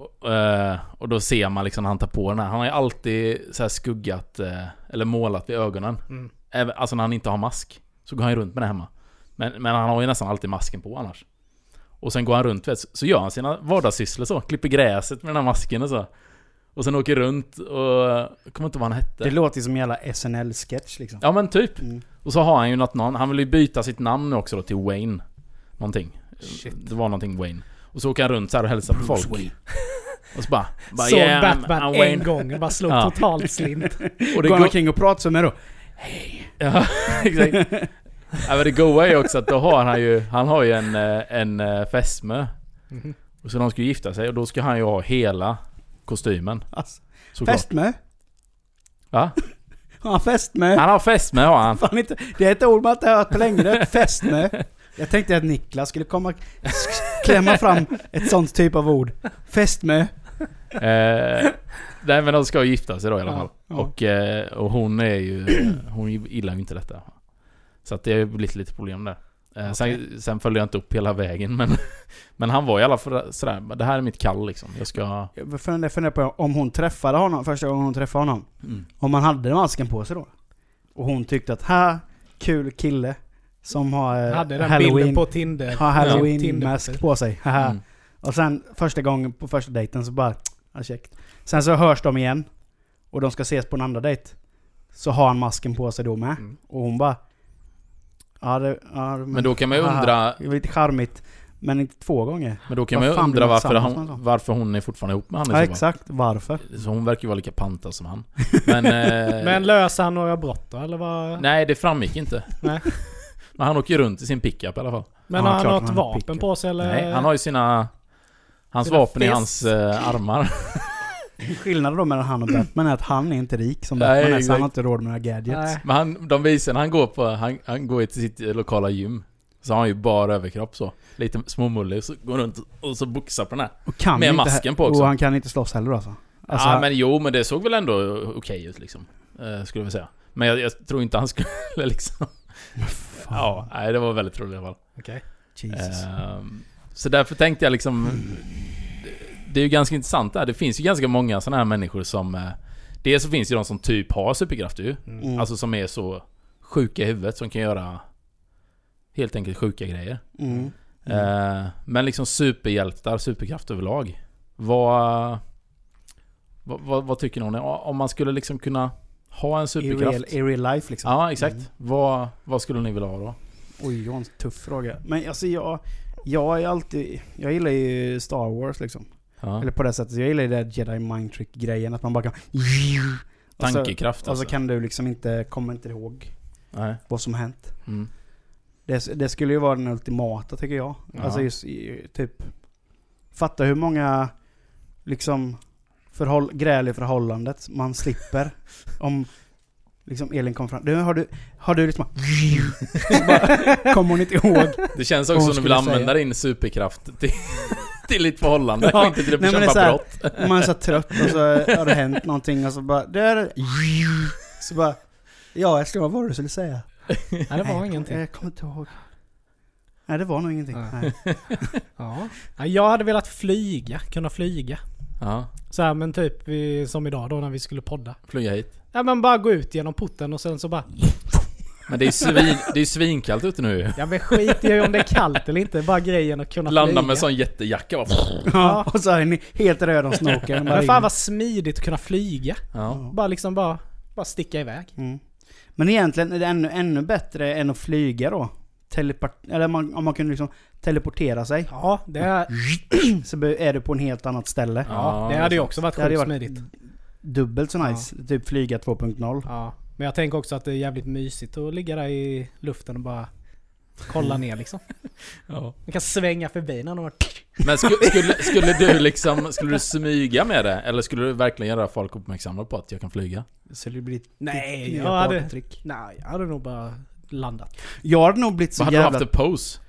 [SPEAKER 1] Och, eh, och då ser man liksom när han tar på den här. Han har ju alltid så här skuggat, eh, eller målat vid ögonen.
[SPEAKER 3] Mm.
[SPEAKER 1] Även, alltså när han inte har mask. Så går han ju runt med det hemma. Men, men han har ju nästan alltid masken på annars. Och sen går han runt, vet, så- så gör han sina vardagssysslor så. Klipper gräset med den här masken och så. Och sen åker runt och... Jag kommer inte ihåg vad han
[SPEAKER 2] Det
[SPEAKER 1] hette.
[SPEAKER 2] låter ju som en jävla SNL-sketch liksom.
[SPEAKER 1] Ja men typ.
[SPEAKER 2] Mm.
[SPEAKER 1] Och så har han ju något namn. Han vill ju byta sitt namn nu också då till Wayne. Någonting. Det var någonting Wayne. Och så åker han runt så här och hälsar på folk. Och så bara... bara
[SPEAKER 3] Såg
[SPEAKER 1] "Yeah, I'm-
[SPEAKER 3] Batman
[SPEAKER 1] I'm
[SPEAKER 3] en
[SPEAKER 1] Wayne."
[SPEAKER 3] gång och bara slog
[SPEAKER 1] Ja.
[SPEAKER 3] totalt slint.
[SPEAKER 1] Och det
[SPEAKER 2] Går han
[SPEAKER 1] går,
[SPEAKER 2] omkring och pratar så med då?
[SPEAKER 1] Ja, exakt. Ja, men det goa är ju också att då har han ju, han har ju en, eh, en eh, fästmö.
[SPEAKER 3] Mhm.
[SPEAKER 1] Och så de ska ju gifta sig och då ska han ju ha hela kostymen.
[SPEAKER 2] Alltså,
[SPEAKER 1] Såklart.
[SPEAKER 2] fästmö?
[SPEAKER 1] Va?
[SPEAKER 2] Har han fästmö?
[SPEAKER 1] Han har fästmö har han.
[SPEAKER 2] Fan inte, det är ett ord man inte har hört på länge. Fästmö. Jag tänkte att Niklas skulle komma sk- klämma fram ett sånt typ av ord. Fästmö.
[SPEAKER 1] Eh, nej men de ska ju gifta sig då i alla
[SPEAKER 2] Ja,
[SPEAKER 1] fall.
[SPEAKER 2] ja.
[SPEAKER 1] Och, eh, och hon är ju, eh, hon gillar ju inte detta. Så att det har ju blivit lite problem där. Eh, sen, sen följde jag inte upp hela vägen men, men han var i alla fall sådär, "Men det här är mitt kall liksom. Jag ska...
[SPEAKER 2] Jag funderar jag funderar på om hon träffade honom första gången hon träffade honom.
[SPEAKER 1] Mm.
[SPEAKER 2] Om han hade masken på sig då. Och hon tyckte att här, kul kille. Som har eh,
[SPEAKER 3] Jag hade den
[SPEAKER 2] halloween,
[SPEAKER 3] bilden på Tinder.
[SPEAKER 2] har
[SPEAKER 3] Tinder-
[SPEAKER 2] halloween-mask på sig. Haha.
[SPEAKER 1] Mm.
[SPEAKER 2] Och sen första gången på första dejten så bara, ja käckt. Sen så hörs de igen. Och de ska ses på en andra dejt. Så har han masken på sig då med.
[SPEAKER 3] Mm.
[SPEAKER 2] Och hon bara... Ja, det, ja,
[SPEAKER 1] Men då kan man ju
[SPEAKER 2] haha,
[SPEAKER 1] undra,
[SPEAKER 2] Det var lite charmigt. Men inte två gånger.
[SPEAKER 1] men då kan
[SPEAKER 2] Vad
[SPEAKER 1] man ju
[SPEAKER 2] fan blir
[SPEAKER 1] undra
[SPEAKER 2] de
[SPEAKER 1] varför,
[SPEAKER 2] tillsammans med
[SPEAKER 1] han,
[SPEAKER 2] då?
[SPEAKER 1] varför hon är fortfarande ihop med
[SPEAKER 2] Ja,
[SPEAKER 1] honom i så fall.
[SPEAKER 2] exakt. Varför?
[SPEAKER 1] Så hon verkar ju vara lika pantad som han. Men... Eh,
[SPEAKER 3] Men löser han några brott då, eller vad?
[SPEAKER 1] Nej, det framgick inte.
[SPEAKER 3] Nej.
[SPEAKER 1] Men han åker ju runt i sin pickup i alla fall.
[SPEAKER 3] Men
[SPEAKER 2] Ja,
[SPEAKER 3] har han
[SPEAKER 2] klart
[SPEAKER 3] något
[SPEAKER 2] han
[SPEAKER 3] vapen
[SPEAKER 2] pickar.
[SPEAKER 3] på sig eller?
[SPEAKER 1] Nej, han har ju sina... Hans
[SPEAKER 3] Sina
[SPEAKER 1] vapen i
[SPEAKER 3] fists.
[SPEAKER 1] hans eh, armar.
[SPEAKER 2] Skillnaden då mellan han och Batman är att han är inte rik som
[SPEAKER 1] Nej,
[SPEAKER 2] Batman är, så han
[SPEAKER 1] exakt.
[SPEAKER 2] har inte råd med några gadgets.
[SPEAKER 3] Nej.
[SPEAKER 1] Men han, de visar när han går på... Han, han går ju till sitt eh, lokala gym. Så har han ju bara överkropp så. Lite småmullig. Så går han runt och så boxar på den här.
[SPEAKER 2] Och kan
[SPEAKER 1] Med
[SPEAKER 2] inte
[SPEAKER 1] masken på också.
[SPEAKER 2] Och han kan inte slåss heller alltså. alltså
[SPEAKER 1] ja, men jo, men det såg väl ändå okej ut liksom. Eh, skulle jag vilja säga. Men jag, jag tror inte han skulle liksom...
[SPEAKER 2] fan,
[SPEAKER 1] Ja, nej det var väldigt roligt i alla fall.
[SPEAKER 3] Okej.
[SPEAKER 2] Jesus.
[SPEAKER 1] Ehm, Så därför tänkte jag liksom... det- Det är ju ganska intressant det här. Det finns ju ganska många sådana här människor som... eh, Dels så finns det ju de som typ har superkrafter ju.
[SPEAKER 3] Mm.
[SPEAKER 2] Mm.
[SPEAKER 1] Alltså som är så sjuka i huvudet som kan göra helt enkelt sjuka grejer.
[SPEAKER 2] mm.
[SPEAKER 1] Eh, Men liksom superhjältar, superkraft överlag. Vad, vad, vad, vad tycker någon? Om man skulle liksom kunna ha en
[SPEAKER 2] I,
[SPEAKER 1] superkraft?
[SPEAKER 2] real, I real life liksom.
[SPEAKER 1] Ja, exakt.
[SPEAKER 2] Mm.
[SPEAKER 1] Vad, vad skulle ni vilja ha då?
[SPEAKER 2] Oj, det var en tuff fråga. Men alltså jag, jag är alltid, jag gillar ju Star Wars liksom.
[SPEAKER 1] Ja.
[SPEAKER 2] Eller på det sättet, jag gillar ju det där Jedi mind trick grejen att man bara kan... Och så,
[SPEAKER 1] Tankekraft
[SPEAKER 2] och så
[SPEAKER 1] alltså.
[SPEAKER 2] kan du liksom inte, komma inte ihåg
[SPEAKER 1] Nej.
[SPEAKER 2] vad som hänt.
[SPEAKER 1] Mm.
[SPEAKER 2] Det, det skulle ju vara den ultimata tycker jag.
[SPEAKER 1] Ja.
[SPEAKER 2] Alltså just i- typ... Fatta hur många liksom förhåll, gräl i förhållandet man slipper om liksom Elin kom fram. Du, har du, har du liksom... Så bara, kommer hon inte ihåg.
[SPEAKER 1] Det känns
[SPEAKER 2] Vad
[SPEAKER 1] också
[SPEAKER 2] hon
[SPEAKER 1] som du vill
[SPEAKER 2] skulle
[SPEAKER 1] använda din superkraft till, till ditt förhållande
[SPEAKER 2] Ja,
[SPEAKER 1] och inte till att
[SPEAKER 2] nej, men det är
[SPEAKER 1] bekämpa
[SPEAKER 2] så här-
[SPEAKER 1] brott.
[SPEAKER 2] Och Man är så trött och så har det hänt någonting och så bara... Där, så bara... Ja, Eskil, vad var det du skulle säga?
[SPEAKER 3] Nej, det var
[SPEAKER 2] jag-
[SPEAKER 3] ingenting.
[SPEAKER 2] Jag kommer inte ihåg. Nej, det var nog ingenting.
[SPEAKER 3] Nej.
[SPEAKER 2] Nej.
[SPEAKER 3] Ja. Nej, Jag hade velat flyga, kunna flyga.
[SPEAKER 1] Ja,
[SPEAKER 3] Så här, men typ vi, som idag då när vi skulle podda.
[SPEAKER 1] flyga hit.
[SPEAKER 3] Ja men bara gå ut genom porten och sen så bara...
[SPEAKER 1] Men det är ju svin, det är ju svinkallt ute nu
[SPEAKER 3] Ja men skit i om det är kallt eller inte. Bara grejen att kunna
[SPEAKER 1] Landa
[SPEAKER 3] flyga.
[SPEAKER 1] med en sån jättejacka bara.
[SPEAKER 2] Ja, och så är ni helt röd om snoken.
[SPEAKER 3] Men fan vad smidigt att kunna flyga.
[SPEAKER 1] Ja.
[SPEAKER 3] Bara liksom bara, bara sticka iväg.
[SPEAKER 2] Mm. Men egentligen är det ännu, ännu bättre än att flyga då. Teleport, eller man, om man kunde liksom teleportera sig.
[SPEAKER 3] Ja, det, ja,
[SPEAKER 2] Mm.
[SPEAKER 3] Mm.
[SPEAKER 2] Så be- är du på en helt annat ställe.
[SPEAKER 1] Ja,
[SPEAKER 3] det
[SPEAKER 1] det är
[SPEAKER 3] hade ju också varit
[SPEAKER 2] Det hade ju
[SPEAKER 3] sjukt
[SPEAKER 2] varit
[SPEAKER 3] smidigt.
[SPEAKER 2] dubbelt så nice. Typ flyga 2.0.
[SPEAKER 3] Ja. Men jag tänker också att det är jävligt mysigt att ligga där i luften och bara kolla ner liksom.
[SPEAKER 1] Ja.
[SPEAKER 3] Man kan svänga förbi när någon...
[SPEAKER 1] Men sku, skulle, skulle du liksom, skulle du smyga med det? Eller skulle du verkligen göra folk uppmärksamma på att jag kan flyga?
[SPEAKER 2] Så det blir
[SPEAKER 3] Nej,
[SPEAKER 2] nya
[SPEAKER 3] jag hade,
[SPEAKER 2] partytrick.
[SPEAKER 3] nej, jag hade nog bara landat.
[SPEAKER 2] Jag hade nog blivit så
[SPEAKER 1] Vad hade
[SPEAKER 2] jävla...
[SPEAKER 1] du haft för pose?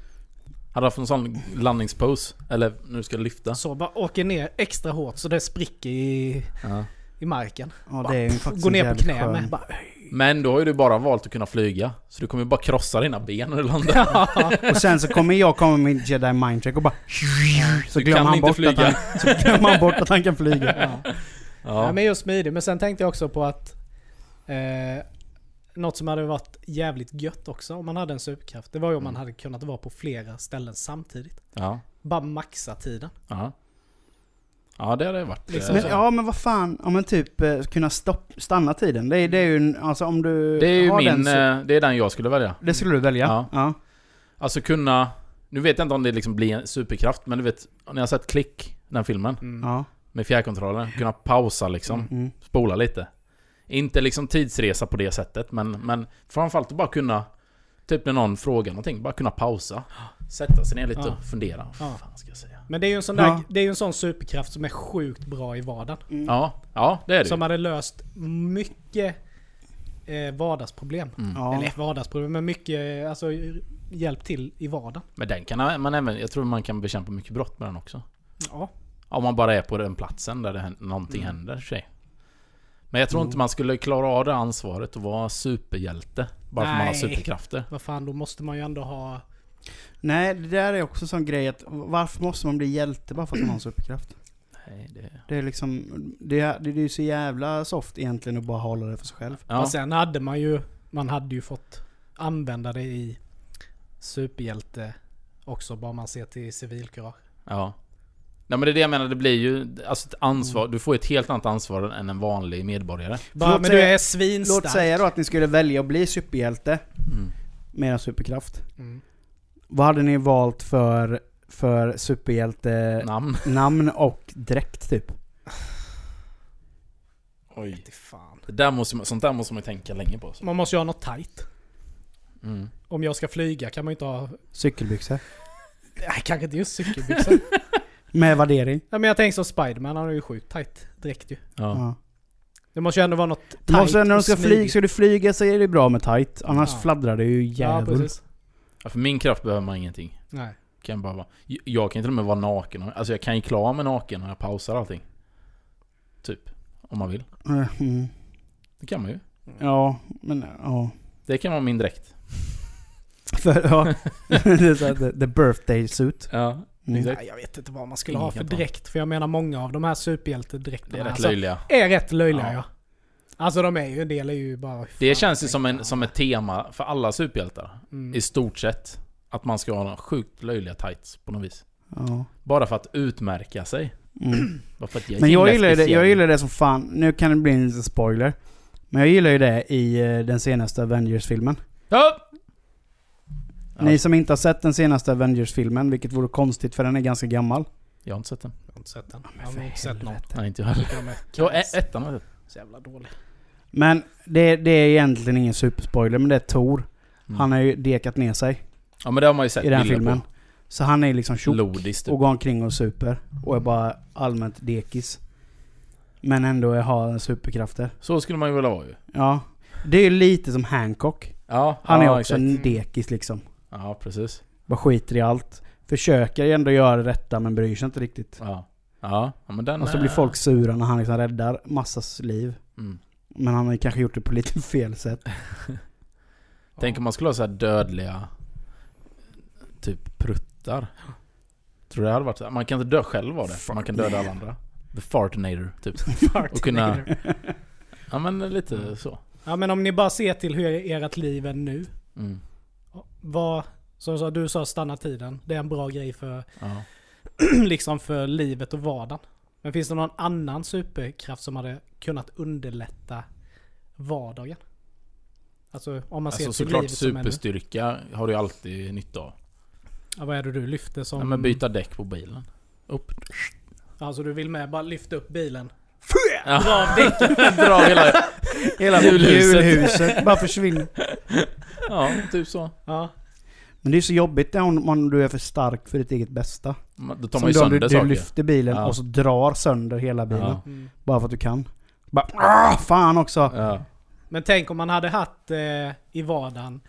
[SPEAKER 1] Hade du haft en sån landningspose? Eller när du ska lyfta?
[SPEAKER 3] Så bara åker ner extra hårt så det spricker i,
[SPEAKER 1] Ja.
[SPEAKER 3] i marken.
[SPEAKER 2] ja, det är ju faktiskt
[SPEAKER 3] Gå
[SPEAKER 2] en
[SPEAKER 3] ner på
[SPEAKER 2] jävligt
[SPEAKER 3] knä
[SPEAKER 2] skön-
[SPEAKER 3] med. Bara,
[SPEAKER 1] Men då har ju du bara valt att kunna flyga. Så du kommer ju bara krossa dina ben när du landar.
[SPEAKER 2] Och sen så kommer jag komma med min jedi mind trick och bara... Så
[SPEAKER 1] Du
[SPEAKER 2] glömmer
[SPEAKER 1] kan
[SPEAKER 2] han
[SPEAKER 1] inte
[SPEAKER 2] bort
[SPEAKER 1] flyga.
[SPEAKER 2] att han... Så glömmer han bort att han kan flyga.
[SPEAKER 3] Ja.
[SPEAKER 1] Ja.
[SPEAKER 3] men just smidig. Men sen tänkte jag också på att eh, något som hade varit jävligt gött också om man hade en superkraft. Det var ju om man
[SPEAKER 2] Mm.
[SPEAKER 3] hade kunnat vara på flera ställen samtidigt.
[SPEAKER 1] Ja.
[SPEAKER 3] Bara maxa tiden.
[SPEAKER 1] Ja. Ja, det hade det varit.
[SPEAKER 3] Liksom.
[SPEAKER 1] eh,
[SPEAKER 2] Men, ja men vad fan, ja men typ eh, kunna stopp, stanna tiden. Det är, det är ju, en- alltså om du
[SPEAKER 1] Det är ju
[SPEAKER 2] har
[SPEAKER 1] min...
[SPEAKER 2] den så-
[SPEAKER 1] eh, det är den jag skulle välja.
[SPEAKER 2] Det skulle du välja?
[SPEAKER 1] Ja.
[SPEAKER 2] ja.
[SPEAKER 1] Alltså kunna... Nu vet jag inte om det liksom blir en superkraft, men du vet... När jag har sett Klick, den filmen,
[SPEAKER 2] ja.
[SPEAKER 1] med fjärrkontrollen. Kunna pausa liksom.
[SPEAKER 2] Mm.
[SPEAKER 1] Spola lite. Inte liksom tidsresa på det sättet, men, men framförallt att bara kunna Typ när någon frågar någonting, bara kunna pausa. Sätta sig ner lite
[SPEAKER 3] Ja.
[SPEAKER 1] och fundera. Vad
[SPEAKER 3] Ja.
[SPEAKER 1] fan ska jag säga?
[SPEAKER 3] Men det är ju en sån, där,
[SPEAKER 2] Ja.
[SPEAKER 3] det är ju en sån superkraft som är sjukt bra i vardagen.
[SPEAKER 1] Ja, ja det är det
[SPEAKER 3] Som
[SPEAKER 1] ju.
[SPEAKER 3] hade löst mycket eh, vardagsproblem.
[SPEAKER 2] Ja.
[SPEAKER 3] Eller vardagsproblem, men mycket eh, alltså, hjälp till i vardagen.
[SPEAKER 1] Men den kan man även... Jag tror man kan bekämpa mycket brott med den också.
[SPEAKER 3] Ja. Mm.
[SPEAKER 1] Om man bara är på den platsen där det, hän- någonting händer i och för sig. Men jag tror inte man skulle klara av det ansvaret att vara superhjälte. Bara för att man har
[SPEAKER 3] Nej.
[SPEAKER 1] superkrafter.
[SPEAKER 3] Vad fan, då måste man ju ändå ha...
[SPEAKER 2] Nej, det där är också en sån grej att varför måste man bli hjälte bara för att man har en superkraft?
[SPEAKER 1] Nej, det...
[SPEAKER 2] Det är liksom, det är, det är ju så jävla soft egentligen att bara hålla det för sig själv.
[SPEAKER 1] Ja.
[SPEAKER 3] Och sen hade man ju... Man hade ju fått använda det i superhjälte också, bara man ser till civilkurage.
[SPEAKER 1] Ja. Nej men det är det jag menar, det blir ju alltså ett
[SPEAKER 3] Mm.
[SPEAKER 1] ansvar. Du får ett helt annat ansvar än en vanlig medborgare.
[SPEAKER 3] Bara,
[SPEAKER 2] Låt
[SPEAKER 3] men
[SPEAKER 2] säga-
[SPEAKER 3] du är
[SPEAKER 2] Låt
[SPEAKER 3] svinstark.
[SPEAKER 2] säga då att ni skulle välja att bli superhjälte
[SPEAKER 1] Mm.
[SPEAKER 2] med en superkraft.
[SPEAKER 3] Mm.
[SPEAKER 2] Vad hade ni valt för, för superhjälte
[SPEAKER 1] Eh, Namn.
[SPEAKER 2] namn och dräkt typ?
[SPEAKER 1] Oj.
[SPEAKER 3] Fy Fan.
[SPEAKER 1] Det där måste man, sånt där måste man ju tänka länge på. Så.
[SPEAKER 3] Man måste ju ha något tight.
[SPEAKER 1] Mm.
[SPEAKER 3] Om jag ska flyga kan man ju inte ha...
[SPEAKER 2] Cykelbyxor.
[SPEAKER 3] Nej, kanske inte just cykelbyxor.
[SPEAKER 2] Med värdering.
[SPEAKER 3] Nej, men jag tänker som Spiderman, han har ju sjukt tight dräkt ju.
[SPEAKER 1] Ja.
[SPEAKER 2] Ja.
[SPEAKER 3] Det måste ju ändå vara något tight
[SPEAKER 2] Du måste, när de
[SPEAKER 3] och
[SPEAKER 2] ska
[SPEAKER 3] smidigt.
[SPEAKER 2] flyga, ska du flyga så är det bra med tight. Annars
[SPEAKER 3] Ja.
[SPEAKER 2] fladdrar det ju
[SPEAKER 3] Ja,
[SPEAKER 2] jävligt.
[SPEAKER 3] precis.
[SPEAKER 1] Ja, För min kraft behöver man ingenting.
[SPEAKER 3] Nej.
[SPEAKER 1] Kan bara vara. Jag- Jag kan till och med vara naken. Alltså jag kan ju klara mig naken när jag pausar allting. Typ. Om man vill.
[SPEAKER 2] Ja, mm.
[SPEAKER 1] Det kan man ju.
[SPEAKER 2] ja men ja.
[SPEAKER 1] Det kan vara min dräkt.
[SPEAKER 2] För, ja. det är så här, the, the birthday suit.
[SPEAKER 1] Ja,
[SPEAKER 2] Mm.
[SPEAKER 1] exakt.
[SPEAKER 3] Nej, jag vet inte vad man skulle
[SPEAKER 1] Ingen
[SPEAKER 3] ha för
[SPEAKER 1] kan ta.
[SPEAKER 3] dräkt. För jag menar många av de här
[SPEAKER 1] Det
[SPEAKER 3] superhjältedräkterna
[SPEAKER 1] är rätt
[SPEAKER 3] alltså,
[SPEAKER 1] löjliga.
[SPEAKER 3] är rätt löjliga ja.
[SPEAKER 1] Ja.
[SPEAKER 3] Alltså de är ju, en del är ju bara...
[SPEAKER 1] Det
[SPEAKER 3] fan,
[SPEAKER 1] känns ju som, en,
[SPEAKER 3] ja.
[SPEAKER 1] som ett tema för alla superhjältar.
[SPEAKER 3] Mm.
[SPEAKER 1] I stort sett. Att man ska ha några sjukt löjliga tights på något vis.
[SPEAKER 2] Ja.
[SPEAKER 1] Bara för att utmärka sig.
[SPEAKER 2] Mm.
[SPEAKER 1] Bara för att jag
[SPEAKER 2] Men jag
[SPEAKER 1] gillar
[SPEAKER 2] gillar, ju det,
[SPEAKER 1] speciell-
[SPEAKER 2] jag gillar det som fan. Nu kan det bli en liten spoiler. Men jag gillar ju det i eh, den senaste Avengers-filmen.
[SPEAKER 1] Ja! Ja.
[SPEAKER 2] Ni som inte har sett den senaste Avengers-filmen, vilket vore konstigt för den är ganska gammal.
[SPEAKER 1] Jag har inte sett den.
[SPEAKER 3] Jag har inte sett den. Jag
[SPEAKER 2] för
[SPEAKER 3] har inte sett någon.
[SPEAKER 2] helvete.
[SPEAKER 1] Nej, inte jag heller.
[SPEAKER 3] Tycker de är
[SPEAKER 1] Jo,
[SPEAKER 3] kass.
[SPEAKER 1] e- ettan har jag sett.
[SPEAKER 3] Så jävla dålig.
[SPEAKER 2] Men det, det är egentligen ingen superspoiler, men det är Thor.
[SPEAKER 1] Mm.
[SPEAKER 2] Han har ju dekat ner sig
[SPEAKER 1] Ja men det har man ju sett
[SPEAKER 2] i den
[SPEAKER 1] bilder
[SPEAKER 2] filmen. Så han är liksom
[SPEAKER 1] på.
[SPEAKER 2] tjock
[SPEAKER 1] Lodis typ.
[SPEAKER 2] och går omkring och super. Och är bara allmänt dekis. Men ändå är- har superkrafter.
[SPEAKER 1] Så skulle man ju vilja vara ju.
[SPEAKER 2] Ja. Det är ju lite som Hancock.
[SPEAKER 1] Ja,
[SPEAKER 2] Han
[SPEAKER 1] ja,
[SPEAKER 2] är också
[SPEAKER 1] exakt.
[SPEAKER 2] en dekis liksom.
[SPEAKER 1] Ja, precis.
[SPEAKER 2] Bara skiter i allt. Försöker ändå göra det rätta men bryr sig inte riktigt.
[SPEAKER 1] Ja. Ja, ja, men den
[SPEAKER 2] Och så
[SPEAKER 1] är-
[SPEAKER 2] blir folk sura när han liksom räddar massas liv.
[SPEAKER 1] Mm.
[SPEAKER 2] Men han har ju kanske gjort det på lite fel sätt.
[SPEAKER 1] Tänk om man skulle ha så här dödliga... Typ pruttar. Tror du det hade varit så här? Man kan inte dö själv av det. Man kan döda alla andra. The fartinator, typ.
[SPEAKER 3] Fart
[SPEAKER 1] och kunna-
[SPEAKER 3] nigger.
[SPEAKER 1] Ja men lite så.
[SPEAKER 3] Ja men om ni bara ser till hur ert liv är nu.
[SPEAKER 1] Mm.
[SPEAKER 3] Vad, som jag sa, du sa stanna tiden. Det är en bra grej för,
[SPEAKER 1] Ja.
[SPEAKER 3] liksom för livet och vardagen. Men finns det någon annan superkraft som hade kunnat underlätta vardagen? Alltså om man ser
[SPEAKER 1] Alltså
[SPEAKER 3] till
[SPEAKER 1] såklart
[SPEAKER 3] livet som är nu.
[SPEAKER 1] superstyrka har du ju alltid nytta av.
[SPEAKER 3] Ja, vad är det du lyfter som...
[SPEAKER 1] Ja, men byta däck på bilen. Upp.
[SPEAKER 3] Alltså du vill med bara lyfta upp bilen.
[SPEAKER 1] Dra av däcken. Dra av hela...
[SPEAKER 2] Hela
[SPEAKER 1] Julhuset.
[SPEAKER 2] julhuset bara försvinner.
[SPEAKER 1] Ja, typ så.
[SPEAKER 3] Ja.
[SPEAKER 2] Men det är så jobbigt när om om du är för stark för ditt eget bästa.
[SPEAKER 1] Då tar
[SPEAKER 2] Som
[SPEAKER 1] man ju
[SPEAKER 2] då om
[SPEAKER 1] sönder
[SPEAKER 2] du, du
[SPEAKER 1] saker.
[SPEAKER 2] lyfter bilen
[SPEAKER 1] Ja.
[SPEAKER 2] och så drar sönder hela bilen.
[SPEAKER 1] Ja.
[SPEAKER 3] Mm.
[SPEAKER 2] Bara för att du kan. Bara "Ah, fan också.
[SPEAKER 1] Ja.
[SPEAKER 3] Men tänk om man hade haft eh, i vardagen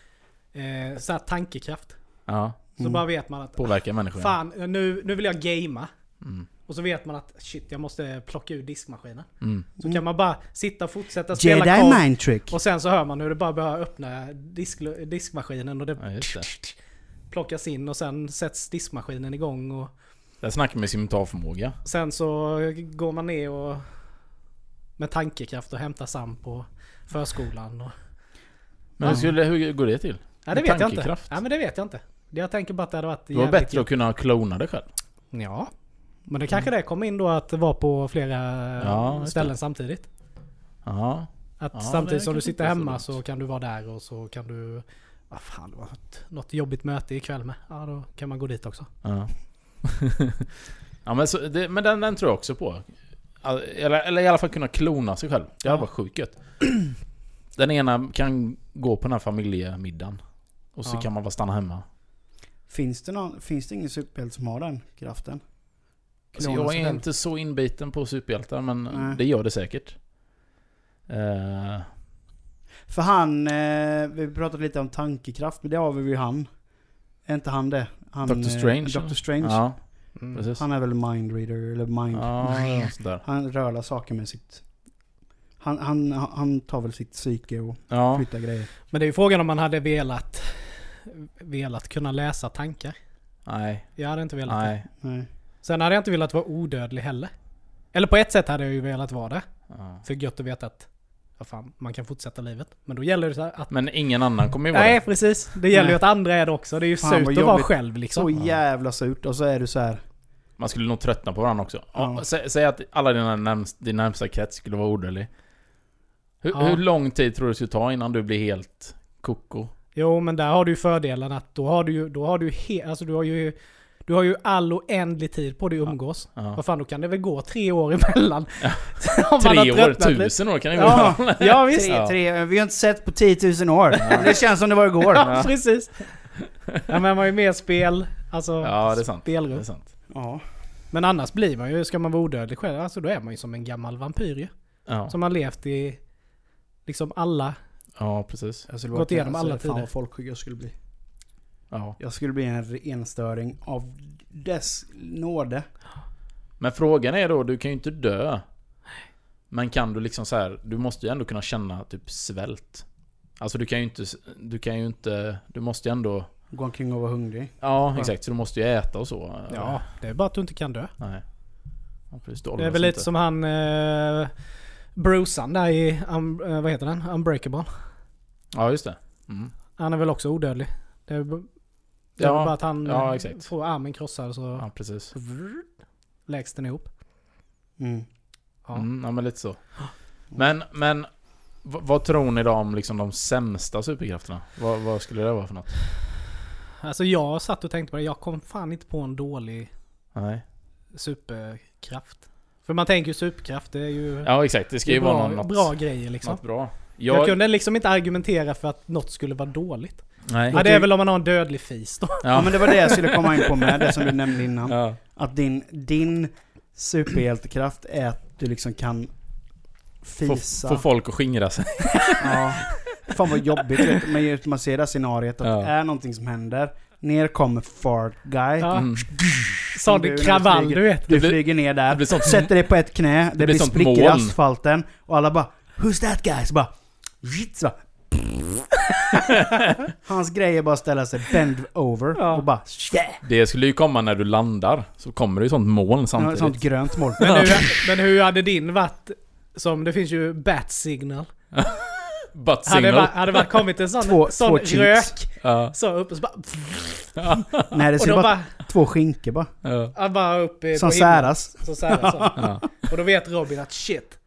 [SPEAKER 3] eh, så här tankekraft.
[SPEAKER 1] ja.
[SPEAKER 3] Så
[SPEAKER 2] Mm.
[SPEAKER 3] bara vet man att
[SPEAKER 1] Påverkar människor.
[SPEAKER 3] fan nu, nu vill jag gamea.
[SPEAKER 1] Mm.
[SPEAKER 3] Och så vet man att shit jag måste plocka ur diskmaskinen.
[SPEAKER 1] Mm.
[SPEAKER 3] Så kan man bara sitta och fortsätta spela
[SPEAKER 2] Jedi
[SPEAKER 3] Call
[SPEAKER 2] mind trick.
[SPEAKER 3] Och sen så hör man hur det bara börjar öppna disk, diskmaskinen och det,
[SPEAKER 1] Ja, just det.
[SPEAKER 3] plockas in och sen sätts diskmaskinen igång och
[SPEAKER 1] Där snackar man ju simultanförmåga.
[SPEAKER 3] sen så går man ner och med tankekraft och hämtar Sam på förskolan. Och,
[SPEAKER 1] Men hur, skulle, hur går det till?
[SPEAKER 3] ja, det
[SPEAKER 1] Med
[SPEAKER 3] vet jag inte.
[SPEAKER 1] tankekraft?
[SPEAKER 3] Ja, men det vet jag inte. Jag tänker bara att det hade varit
[SPEAKER 1] Det var
[SPEAKER 3] jävligt
[SPEAKER 1] bättre att kunna klona det själv.
[SPEAKER 3] kul. Ja. Men det kanske det kom in då att vara på flera
[SPEAKER 1] Mm. Ja, just det.
[SPEAKER 3] ställen samtidigt.
[SPEAKER 1] Ja.
[SPEAKER 3] Att
[SPEAKER 1] Ja,
[SPEAKER 3] samtidigt
[SPEAKER 1] det
[SPEAKER 3] som du
[SPEAKER 1] kanske inte
[SPEAKER 3] sitter
[SPEAKER 1] är så
[SPEAKER 3] hemma
[SPEAKER 1] dumt.
[SPEAKER 3] så, kan du vara där och så kan du... Vad fan, det var något, något jobbigt möte ikväll med. Ja, då kan man gå dit också.
[SPEAKER 1] Ja. ja men, så, det, men den, den tror jag också på. All- Eller, eller i alla fall kunna klona sig själv. Det hade varit sjukt gött. Den ena kan gå på den här familjemiddagen. Och Och så
[SPEAKER 2] Ja.
[SPEAKER 1] kan man bara stanna hemma.
[SPEAKER 2] Finns det, någon, finns det ingen superhjälte som har den kraften?
[SPEAKER 1] Alltså,
[SPEAKER 2] Klona
[SPEAKER 1] jag
[SPEAKER 2] sig
[SPEAKER 1] är
[SPEAKER 2] själv.
[SPEAKER 1] inte så inbiten på superhjältar, men
[SPEAKER 2] Nej.
[SPEAKER 1] det gör det säkert. Eh,
[SPEAKER 2] För han, eh, vi pratade lite om tankekraft, men det har vi ju han. Är inte han det? Han,
[SPEAKER 1] Dr. Strange,
[SPEAKER 2] Eh, Dr.
[SPEAKER 1] eller?
[SPEAKER 2] Strange.
[SPEAKER 1] ja,
[SPEAKER 3] Mm.
[SPEAKER 1] precis.
[SPEAKER 2] Han är väl mindreader, eller mind...
[SPEAKER 1] Ja, ja, sånt där.
[SPEAKER 2] Han rörlar saker med sitt... Han, han, han tar väl sitt psyke och
[SPEAKER 1] Ja,
[SPEAKER 2] flyttar grejer.
[SPEAKER 3] Men det är ju frågan om man hade velat, velat kunna läsa tankar.
[SPEAKER 1] nej,
[SPEAKER 3] Jag hade inte velat det.
[SPEAKER 1] nej.
[SPEAKER 2] Nej.
[SPEAKER 3] Sen hade jag inte velat vara odödlig heller. Eller på ett sätt hade jag ju velat vara det.
[SPEAKER 1] Ja.
[SPEAKER 3] För gött att veta att ja, fan, man kan fortsätta livet. Men då gäller det så här att...
[SPEAKER 1] Men ingen annan kommer ju vara
[SPEAKER 3] Nej
[SPEAKER 1] det.
[SPEAKER 3] precis, det gäller
[SPEAKER 2] Nej.
[SPEAKER 3] ju att andra är det också. Det är ju
[SPEAKER 2] Fan,
[SPEAKER 3] surt
[SPEAKER 2] vad
[SPEAKER 3] att vara
[SPEAKER 2] jobbigt.
[SPEAKER 3] själv liksom.
[SPEAKER 2] Så jävla surt och så är du så här.
[SPEAKER 1] Man skulle nog tröttna på varandra också.
[SPEAKER 2] Ja.
[SPEAKER 1] Ja. Sä, säg att alla dina närmst, din närmsta krets skulle vara ordentlig. Hur,
[SPEAKER 3] Ja.
[SPEAKER 1] hur lång tid tror du det skulle ta innan du blir helt koko?
[SPEAKER 3] Jo men där har du ju fördelen att då har du ju, då har du he- alltså du har ju, du har ju all oändlig tid på dig att umgås.
[SPEAKER 1] Ja.
[SPEAKER 3] Vad fan, då kan det väl gå tre år emellan? Om man har
[SPEAKER 1] Tre år, typ.
[SPEAKER 3] tröttnat lite.
[SPEAKER 1] tusen år kan det
[SPEAKER 3] Ja,
[SPEAKER 1] gå.
[SPEAKER 3] ja visst.
[SPEAKER 2] Tre, tre, vi har inte sett på 10 000 år. Det känns som det var igår.
[SPEAKER 3] Ja, precis. Ja, men man har ju mer spel, alltså
[SPEAKER 1] Ja, det är sant. Det
[SPEAKER 3] spelrum.
[SPEAKER 1] är sant.
[SPEAKER 2] Ja.
[SPEAKER 3] Men annars blir man ju, ska man vara odödlig själv, alltså då är man ju som en gammal vampyr ju.
[SPEAKER 1] Ja,
[SPEAKER 3] Som har levt i liksom alla.
[SPEAKER 1] ja precis.
[SPEAKER 2] Jag skulle
[SPEAKER 3] Gått
[SPEAKER 2] verkligen-
[SPEAKER 3] igenom alla
[SPEAKER 2] alltså, Fan
[SPEAKER 3] tider.
[SPEAKER 2] vad folkskygg jag skulle bli.
[SPEAKER 1] Ja.
[SPEAKER 2] Jag skulle bli en enstöring av dess nåde.
[SPEAKER 1] Men frågan är då, du kan ju inte dö. Men kan du liksom så här, du måste ju ändå kunna känna typ svält. Alltså du kan ju inte, du kan ju inte, du måste ju ändå...
[SPEAKER 2] Gå omkring och vara hungrig.
[SPEAKER 1] Ja, exakt. Så du måste ju äta och så.
[SPEAKER 3] Ja, det är bara att du inte kan dö.
[SPEAKER 1] Nej. Ja, precis,
[SPEAKER 3] Det är väl lite som han... Eh, Brucean där i, um, eh, vad heter den? Unbreakable.
[SPEAKER 1] Ja, just det. Mm.
[SPEAKER 3] Han är väl också odödlig. Det är, b- det är
[SPEAKER 1] Ja,
[SPEAKER 3] väl bara att han
[SPEAKER 1] ja,
[SPEAKER 3] eh,
[SPEAKER 1] exakt.
[SPEAKER 3] får armen krossad så
[SPEAKER 1] Ja, precis.
[SPEAKER 3] läggs den ihop.
[SPEAKER 2] Mm.
[SPEAKER 3] Ja.
[SPEAKER 1] Mm, ja, men lite så. Men, men... v- Vad tror ni då om liksom de sämsta superkrafterna? Vad, vad skulle det vara för något?
[SPEAKER 3] Alltså jag satt och tänkte på det, jag kom fan inte på en dålig
[SPEAKER 1] Nej.
[SPEAKER 3] superkraft. För man tänker ju superkraft, det är ju...
[SPEAKER 1] Ja, exakt. Det ska
[SPEAKER 3] det
[SPEAKER 1] ju
[SPEAKER 3] är bra,
[SPEAKER 1] vara något...
[SPEAKER 3] bra grejer liksom.
[SPEAKER 1] Något bra.
[SPEAKER 3] Jag...
[SPEAKER 1] Jag,
[SPEAKER 3] kunde liksom inte argumentera för att något skulle vara dåligt.
[SPEAKER 1] Nej.
[SPEAKER 3] Ja, det är väl om man har en dödlig fis då.
[SPEAKER 2] Ja. men det var det jag skulle komma in på med, det som du nämnde innan.
[SPEAKER 1] Ja.
[SPEAKER 2] Att din, din superhjältekraft är att du liksom kan
[SPEAKER 1] Få,
[SPEAKER 2] fisa.
[SPEAKER 1] få folk att skingra sig.
[SPEAKER 2] Ja. Fan vad jobbigt. vet du. Men just man ser det här scenariet att
[SPEAKER 1] Ja.
[SPEAKER 2] det är någonting som händer. Ner kommer fart guy.
[SPEAKER 3] Ja.
[SPEAKER 1] Mm.
[SPEAKER 3] Sån
[SPEAKER 2] Du, när du
[SPEAKER 3] kravall
[SPEAKER 2] flyger.
[SPEAKER 3] du vet.
[SPEAKER 2] Du
[SPEAKER 1] Det blir-
[SPEAKER 2] flyger ner
[SPEAKER 1] Det
[SPEAKER 2] där.
[SPEAKER 1] blir sånt...
[SPEAKER 2] Sätter dig på ett knä. Det,
[SPEAKER 1] blir
[SPEAKER 2] blir
[SPEAKER 1] sånt
[SPEAKER 2] sprickor i
[SPEAKER 1] moln.
[SPEAKER 2] asfalten. Och alla bara Who's that guy? Så bara... Shit, så bara Hans grej är bara att ställa sig bend over
[SPEAKER 3] Ja.
[SPEAKER 2] och bara yeah.
[SPEAKER 1] Det skulle ju komma när du landar. Så kommer det ju sånt moln
[SPEAKER 2] Samtidigt.
[SPEAKER 1] samtidigt.
[SPEAKER 2] Sånt grönt mål.
[SPEAKER 3] Men hur, men hur hade din varit? Som, det finns ju bat signal.
[SPEAKER 1] Butt
[SPEAKER 3] Hade,
[SPEAKER 1] signal.
[SPEAKER 3] va, hade varit kommit en sån,
[SPEAKER 2] Två-
[SPEAKER 3] sån
[SPEAKER 2] två cheeks.
[SPEAKER 3] rök,
[SPEAKER 1] Ja.
[SPEAKER 3] så upp och så bara...
[SPEAKER 2] Nej det
[SPEAKER 3] Och
[SPEAKER 2] ser
[SPEAKER 3] då
[SPEAKER 2] bara
[SPEAKER 3] bara,
[SPEAKER 2] två skinkor bara.
[SPEAKER 1] Ja.
[SPEAKER 3] ja, bara upp eh,
[SPEAKER 2] Som
[SPEAKER 3] på himlen.
[SPEAKER 2] säras. Ah,
[SPEAKER 3] Så säras, så.
[SPEAKER 1] Ja.
[SPEAKER 3] Och då vet Robin att shit.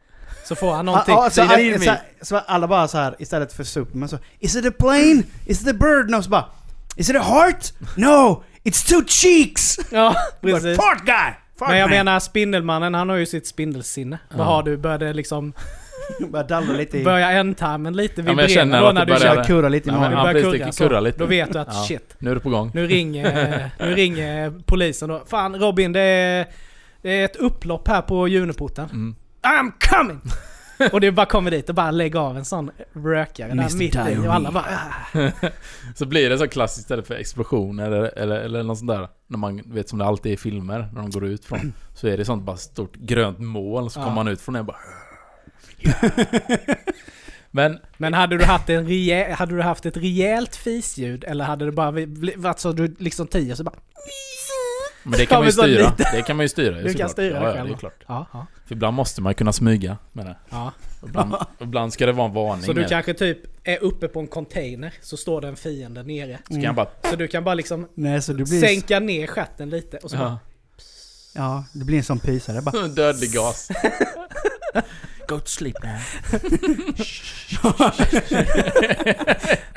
[SPEAKER 3] Så får han
[SPEAKER 2] Ah,
[SPEAKER 3] någonting.
[SPEAKER 2] ah, så,
[SPEAKER 1] Det är
[SPEAKER 2] alla-
[SPEAKER 1] det
[SPEAKER 2] så,
[SPEAKER 1] med-
[SPEAKER 2] så alla bara så här istället för Superman så Is it a plane? Is it a bird? No, så bara Is it a heart? No! It's two cheeks!
[SPEAKER 3] Ja,
[SPEAKER 2] Bara,
[SPEAKER 3] precis.
[SPEAKER 2] Fart guy! Fart
[SPEAKER 3] Men jag
[SPEAKER 2] man."
[SPEAKER 3] menar Spindelmannen, han har ju sitt spindelsinne.
[SPEAKER 1] Ja.
[SPEAKER 3] Vad har du? Börjar det liksom...
[SPEAKER 2] Bara dallra lite i...
[SPEAKER 3] Börjar ändtarmen lite
[SPEAKER 1] men jag
[SPEAKER 3] vibrera
[SPEAKER 1] känner
[SPEAKER 3] då
[SPEAKER 1] att
[SPEAKER 3] när
[SPEAKER 1] det
[SPEAKER 3] du
[SPEAKER 1] börjar-
[SPEAKER 3] kör?
[SPEAKER 2] Jag kurrar lite i
[SPEAKER 1] Ja,
[SPEAKER 3] När
[SPEAKER 1] men
[SPEAKER 3] du
[SPEAKER 2] magen.
[SPEAKER 1] han
[SPEAKER 3] börjar
[SPEAKER 1] precis,
[SPEAKER 3] kurra,
[SPEAKER 1] det
[SPEAKER 3] så,
[SPEAKER 1] kurrar lite.
[SPEAKER 3] Då vet du att
[SPEAKER 1] Ja.
[SPEAKER 3] shit.
[SPEAKER 1] Nu är du på gång.
[SPEAKER 3] Nu ringer, nu ringer polisen då. Fan Robin, det är, det är ett upplopp här på Juneporten.
[SPEAKER 1] Mm.
[SPEAKER 3] I'm coming! Och du bara kommer dit och bara lägger av en sån rökare där
[SPEAKER 2] Mr.
[SPEAKER 3] mitt i
[SPEAKER 2] Diarrhea.
[SPEAKER 3] och alla bara... "Ah."
[SPEAKER 1] Så blir det så klassiskt istället för explosioner eller, eller, eller något sånt där. När man du vet som det alltid är i filmer, när de går ut från. Så är det sånt bara stort grönt moln, så
[SPEAKER 3] Ja.
[SPEAKER 1] kommer man ut från det och bara... Men,
[SPEAKER 3] Men hade du, haft en rejäl, hade du haft ett rejält fisljud eller hade det bara vi- bli- varit så du liksom tio så bara...
[SPEAKER 1] men det kan man
[SPEAKER 3] Kommer
[SPEAKER 1] ju
[SPEAKER 3] sån
[SPEAKER 1] styra.
[SPEAKER 3] liten-
[SPEAKER 1] Det kan man ju styra ju
[SPEAKER 3] Du kan
[SPEAKER 1] såklart.
[SPEAKER 3] styra det
[SPEAKER 1] ja, ja,
[SPEAKER 3] själv.
[SPEAKER 1] det är klart.
[SPEAKER 3] Ja, ja.
[SPEAKER 1] För ibland måste man ju kunna smyga med det.
[SPEAKER 3] ja.
[SPEAKER 1] Ibland, ibland ska det vara en varning
[SPEAKER 3] Så du
[SPEAKER 1] med det.
[SPEAKER 3] kanske typ är uppe på en container, så står det en fiende nere.
[SPEAKER 1] Så kan jag bara...
[SPEAKER 3] Så du kan bara liksom
[SPEAKER 2] Mm. Nej, så du blir...
[SPEAKER 3] sänka ner stjärten lite och så bara,
[SPEAKER 1] Ja.
[SPEAKER 2] Ja, det blir en sån pysare bara.
[SPEAKER 1] Dödlig gas.
[SPEAKER 2] Go to sleep man.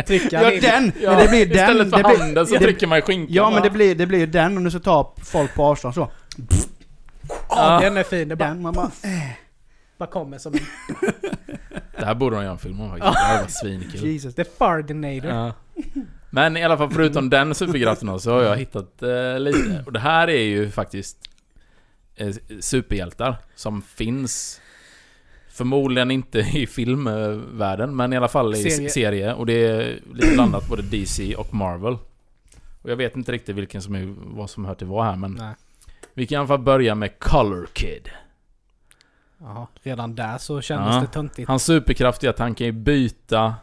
[SPEAKER 3] trycka
[SPEAKER 2] Ja,
[SPEAKER 3] ner.
[SPEAKER 2] den!
[SPEAKER 1] Ja,
[SPEAKER 2] Men det blir den.
[SPEAKER 1] Istället för
[SPEAKER 2] det blir,
[SPEAKER 1] handen så
[SPEAKER 2] det-
[SPEAKER 1] trycker man i skinkan.
[SPEAKER 2] Ja, men det blir, det blir ju den om du så tar folk på avstånd så.
[SPEAKER 3] Ja, den är fin. Det bara,
[SPEAKER 2] Den, man bara...
[SPEAKER 3] bara kommer som en...
[SPEAKER 1] Det här borde de göra en film om faktiskt. Det här var svinkul.
[SPEAKER 2] Jesus.
[SPEAKER 3] The Fardinator.
[SPEAKER 1] Ja. Men i alla fall förutom den superkraften då, så har jag hittat eh, lite. Och det här är ju faktiskt eh, superhjältar som finns. Förmodligen inte i filmvärlden, men i alla fall i
[SPEAKER 3] Serie.
[SPEAKER 1] serie. serie. Och det är lite blandat både DC och Marvel. Och jag vet inte riktigt vilken som är, vad som hör till vad här, men
[SPEAKER 3] Nej.
[SPEAKER 1] vi kan i alla fall börja med Color Kid.
[SPEAKER 3] Jaha, redan där så kändes
[SPEAKER 1] Ja.
[SPEAKER 3] det töntigt.
[SPEAKER 1] Hans superkraft är att han kan ju byta,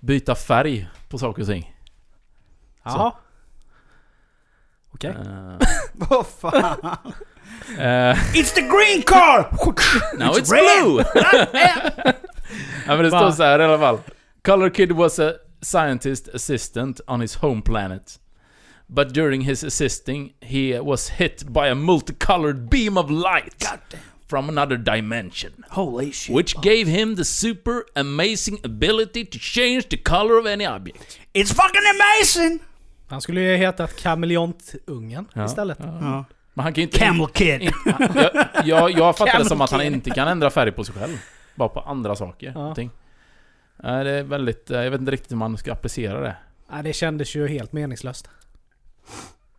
[SPEAKER 1] byta färg på saker och ting.
[SPEAKER 3] Jaha. Okej.
[SPEAKER 1] Eh,
[SPEAKER 2] Vad fan?
[SPEAKER 1] eh,
[SPEAKER 2] It's the green car!
[SPEAKER 1] Now
[SPEAKER 2] It's
[SPEAKER 1] it's,
[SPEAKER 2] red!
[SPEAKER 1] blue! ja, men det står
[SPEAKER 3] Va?
[SPEAKER 1] så här i alla fall. Color Kid was a scientist assistant on his home planet. But during his assisting he was hit by a multicolored beam of light from another dimension.
[SPEAKER 2] Holy shit.
[SPEAKER 1] Which gave him the super amazing ability to change the color of any object.
[SPEAKER 2] It's fucking amazing!
[SPEAKER 3] Han skulle ju heta kameleontungen istället.
[SPEAKER 2] Ja.
[SPEAKER 1] Men han kan ju inte...
[SPEAKER 2] Camel kid.
[SPEAKER 1] jag, jag, jag fattar det som att han inte kan ändra färg på sig själv. Bara på andra saker.
[SPEAKER 3] Ja.
[SPEAKER 1] och ting. Nej, Det är väldigt... eh, Jag vet inte riktigt hur man ska applicera det.
[SPEAKER 3] Nej, det kändes ju helt meningslöst.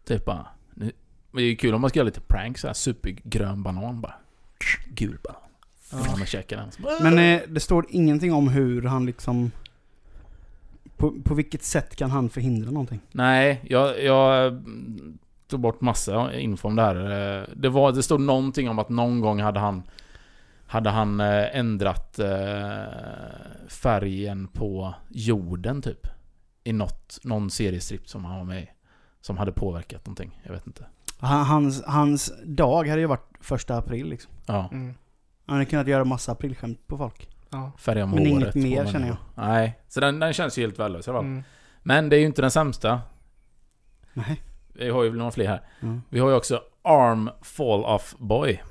[SPEAKER 1] Typ bara... Nu, men det är ju kul om man ska göra lite pranks såhär. Supergrön banan bara. Gul banan. Ja. Man käkar den. så bara,
[SPEAKER 2] Men eh, det står ingenting om hur han liksom... På, på vilket sätt kan han förhindra någonting?
[SPEAKER 1] Nej, jag, jag mm, tog bort massa info om det här. Eh, Det, var, det stod någonting om att någon gång hade han... Hade han eh, ändrat eh, färgen på jorden typ. I något, någon seriestrip som han var med i. Som hade påverkat någonting. Jag vet inte.
[SPEAKER 2] Han, hans, hans dag hade ju varit första april liksom.
[SPEAKER 1] Ja.
[SPEAKER 2] Han hade kunnat göra massa aprilskämt på folk.
[SPEAKER 3] Mm. Ja.
[SPEAKER 1] Färga om
[SPEAKER 2] Men
[SPEAKER 1] håret.
[SPEAKER 2] inget
[SPEAKER 1] på
[SPEAKER 2] mer,
[SPEAKER 1] människor.
[SPEAKER 2] känner jag.
[SPEAKER 1] Nej. Så den, den känns ju helt värdelös i alla fall.
[SPEAKER 3] Mm.
[SPEAKER 1] Men det är ju inte den sämsta.
[SPEAKER 2] Nej.
[SPEAKER 1] Vi har ju några fler här.
[SPEAKER 2] Ja.
[SPEAKER 1] Vi har ju också Arm Fall Off Boy.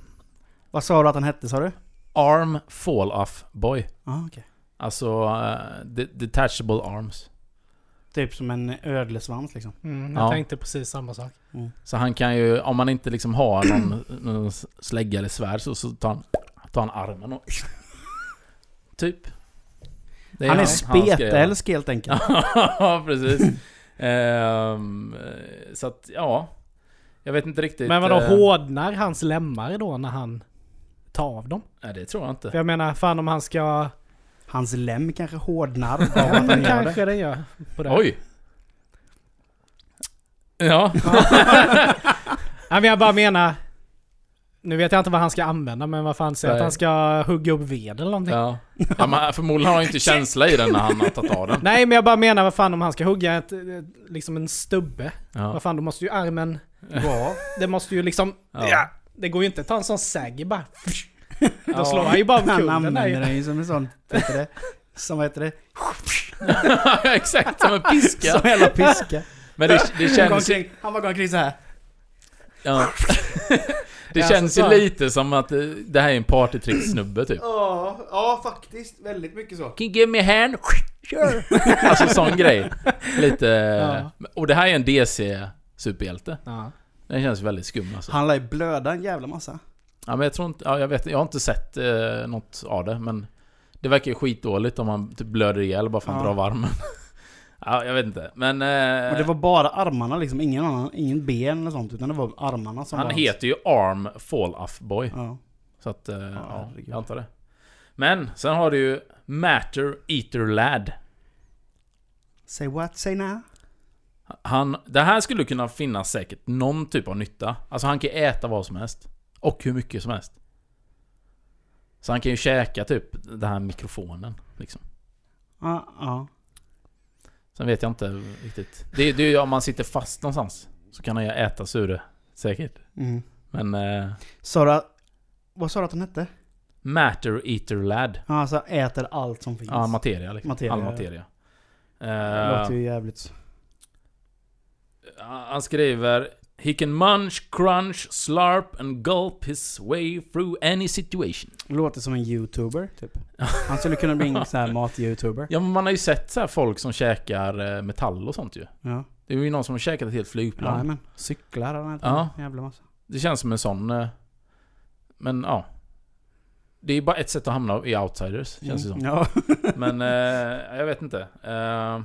[SPEAKER 2] Vad sa du att han hette sa du?
[SPEAKER 1] Arm Fall Off Boy.
[SPEAKER 2] Ja, okej.
[SPEAKER 1] Alltså, eh, de- detachable arms.
[SPEAKER 2] Typ som en ödlesvans liksom.
[SPEAKER 3] Mm, jag
[SPEAKER 1] Ja.
[SPEAKER 3] tänkte precis samma sak.
[SPEAKER 1] Så han kan ju, om man inte liksom har någon, någon slägga eller svärd så, så tar, han, tar han armen och... Typ. Det
[SPEAKER 2] han är
[SPEAKER 1] hans- hans grej.
[SPEAKER 2] spetälsk helt enkelt.
[SPEAKER 1] Ja, precis. Ehm, eh, så att, ja. Jag vet inte riktigt.
[SPEAKER 3] Men vadå,
[SPEAKER 1] eh,
[SPEAKER 3] hårdnar hans lemmar då när han tar av dem?
[SPEAKER 1] Nej, det tror jag
[SPEAKER 3] För
[SPEAKER 1] inte.
[SPEAKER 3] jag menar, fan om han ska...
[SPEAKER 2] Hans lem kanske hårdnar av
[SPEAKER 3] Ja,
[SPEAKER 2] att han gör det.
[SPEAKER 3] kanske den gör. På det.
[SPEAKER 1] Oj! Ja.
[SPEAKER 3] Nej, men jag bara menar... Nu vet jag inte vad han ska använda, men vad fan säger
[SPEAKER 1] Nej.
[SPEAKER 3] att han ska hugga upp ved eller någonting?
[SPEAKER 1] ja. ja men förmodligen har han ju inte känsla i den när han har tagit av den.
[SPEAKER 3] Nej, men jag bara menar vad fan om han ska hugga ett, ett, liksom en stubbe.
[SPEAKER 1] Ja.
[SPEAKER 3] Vad fan, då måste ju armen...
[SPEAKER 2] Ja.
[SPEAKER 3] Det måste ju liksom...
[SPEAKER 1] Ja.
[SPEAKER 3] Ja. Det går ju inte att ta en sån säg bara. Då
[SPEAKER 1] Ja.
[SPEAKER 3] slår han ju bara av
[SPEAKER 2] Han
[SPEAKER 3] kullen där
[SPEAKER 2] använder
[SPEAKER 3] ju.
[SPEAKER 2] den ju som en sån... Vad heter det? Som vad heter det?
[SPEAKER 1] Exakt, som en piska.
[SPEAKER 2] Som hela piska.
[SPEAKER 1] Men det, det
[SPEAKER 2] Han går
[SPEAKER 1] känns ju...
[SPEAKER 2] omkring, han bara går omkring så här.
[SPEAKER 1] Ja. Det
[SPEAKER 3] Ja,
[SPEAKER 1] känns
[SPEAKER 3] så
[SPEAKER 1] ju
[SPEAKER 3] sa han.
[SPEAKER 1] lite som att eh, det här är en partytricksnubbe typ.
[SPEAKER 2] Ja, ja faktiskt. Väldigt mycket så.
[SPEAKER 1] Can you give me a hand? Sure. Alltså sån grej. Lite... Och det här är en DC-superhjälte.
[SPEAKER 3] Ja.
[SPEAKER 1] Den känns väldigt skum alltså.
[SPEAKER 2] Han lär ju blöda en jävla massa.
[SPEAKER 1] Ja men jag tror inte... Ja, jag vet Jag har inte sett eh, något av det men... Det verkar ju skitdåligt om man typ blöder ihjäl bara för att han
[SPEAKER 2] Ja.
[SPEAKER 1] drar av armen. ja, jag vet inte. Men... Eh,
[SPEAKER 2] Och det var bara armarna liksom, ingen annan, ingen ben eller sånt. Utan det var armarna som
[SPEAKER 1] han
[SPEAKER 2] var hans-
[SPEAKER 1] heter ju Arm Fall Off Boy.
[SPEAKER 2] Ja.
[SPEAKER 1] Så att, eh, ja,
[SPEAKER 2] herregud.
[SPEAKER 1] jag antar det. Men, sen har du ju Matter Eater Lad.
[SPEAKER 2] Say what, say now.
[SPEAKER 1] Han, det här skulle kunna finnas säkert någon typ av nytta. Alltså han kan äta vad som helst. Och hur mycket som helst. Så han kan ju käka typ den här mikrofonen. Liksom.
[SPEAKER 2] Ja, ja.
[SPEAKER 1] Sen vet jag inte riktigt. Det, det är ju om man sitter fast någonstans. Så kan han ju äta sig ur det. Säkert.
[SPEAKER 2] Mm.
[SPEAKER 1] Men... Eh,
[SPEAKER 2] Sara... Vad sa du att han hette?
[SPEAKER 1] matter Eater Lad.
[SPEAKER 2] Ja, Alltså äter allt som finns.
[SPEAKER 1] Ja, materia liksom.
[SPEAKER 2] Materia.
[SPEAKER 1] All materia.
[SPEAKER 2] det
[SPEAKER 1] Eh,
[SPEAKER 2] låter ju jävligt...
[SPEAKER 1] Han skriver He can munch, crunch, slurp and gulp his way through any situation.
[SPEAKER 2] Låter som en youtuber, typ. Han skulle kunna bli en sån här mat-youtuber.
[SPEAKER 1] Ja men man har ju sett så här folk som käkar eh, metall och sånt ju.
[SPEAKER 2] Ja.
[SPEAKER 1] Det är ju någon som har käkat ett helt flygplan.
[SPEAKER 2] Jajamän. Cyklar och allt
[SPEAKER 1] Ja.
[SPEAKER 2] en jävla massa.
[SPEAKER 1] Det känns som en sån... eh, Men ja. Det är ju bara ett sätt att hamna
[SPEAKER 2] Mm.
[SPEAKER 1] i outsiders, känns det som.
[SPEAKER 2] Ja.
[SPEAKER 1] Men eh, jag vet inte. Eh,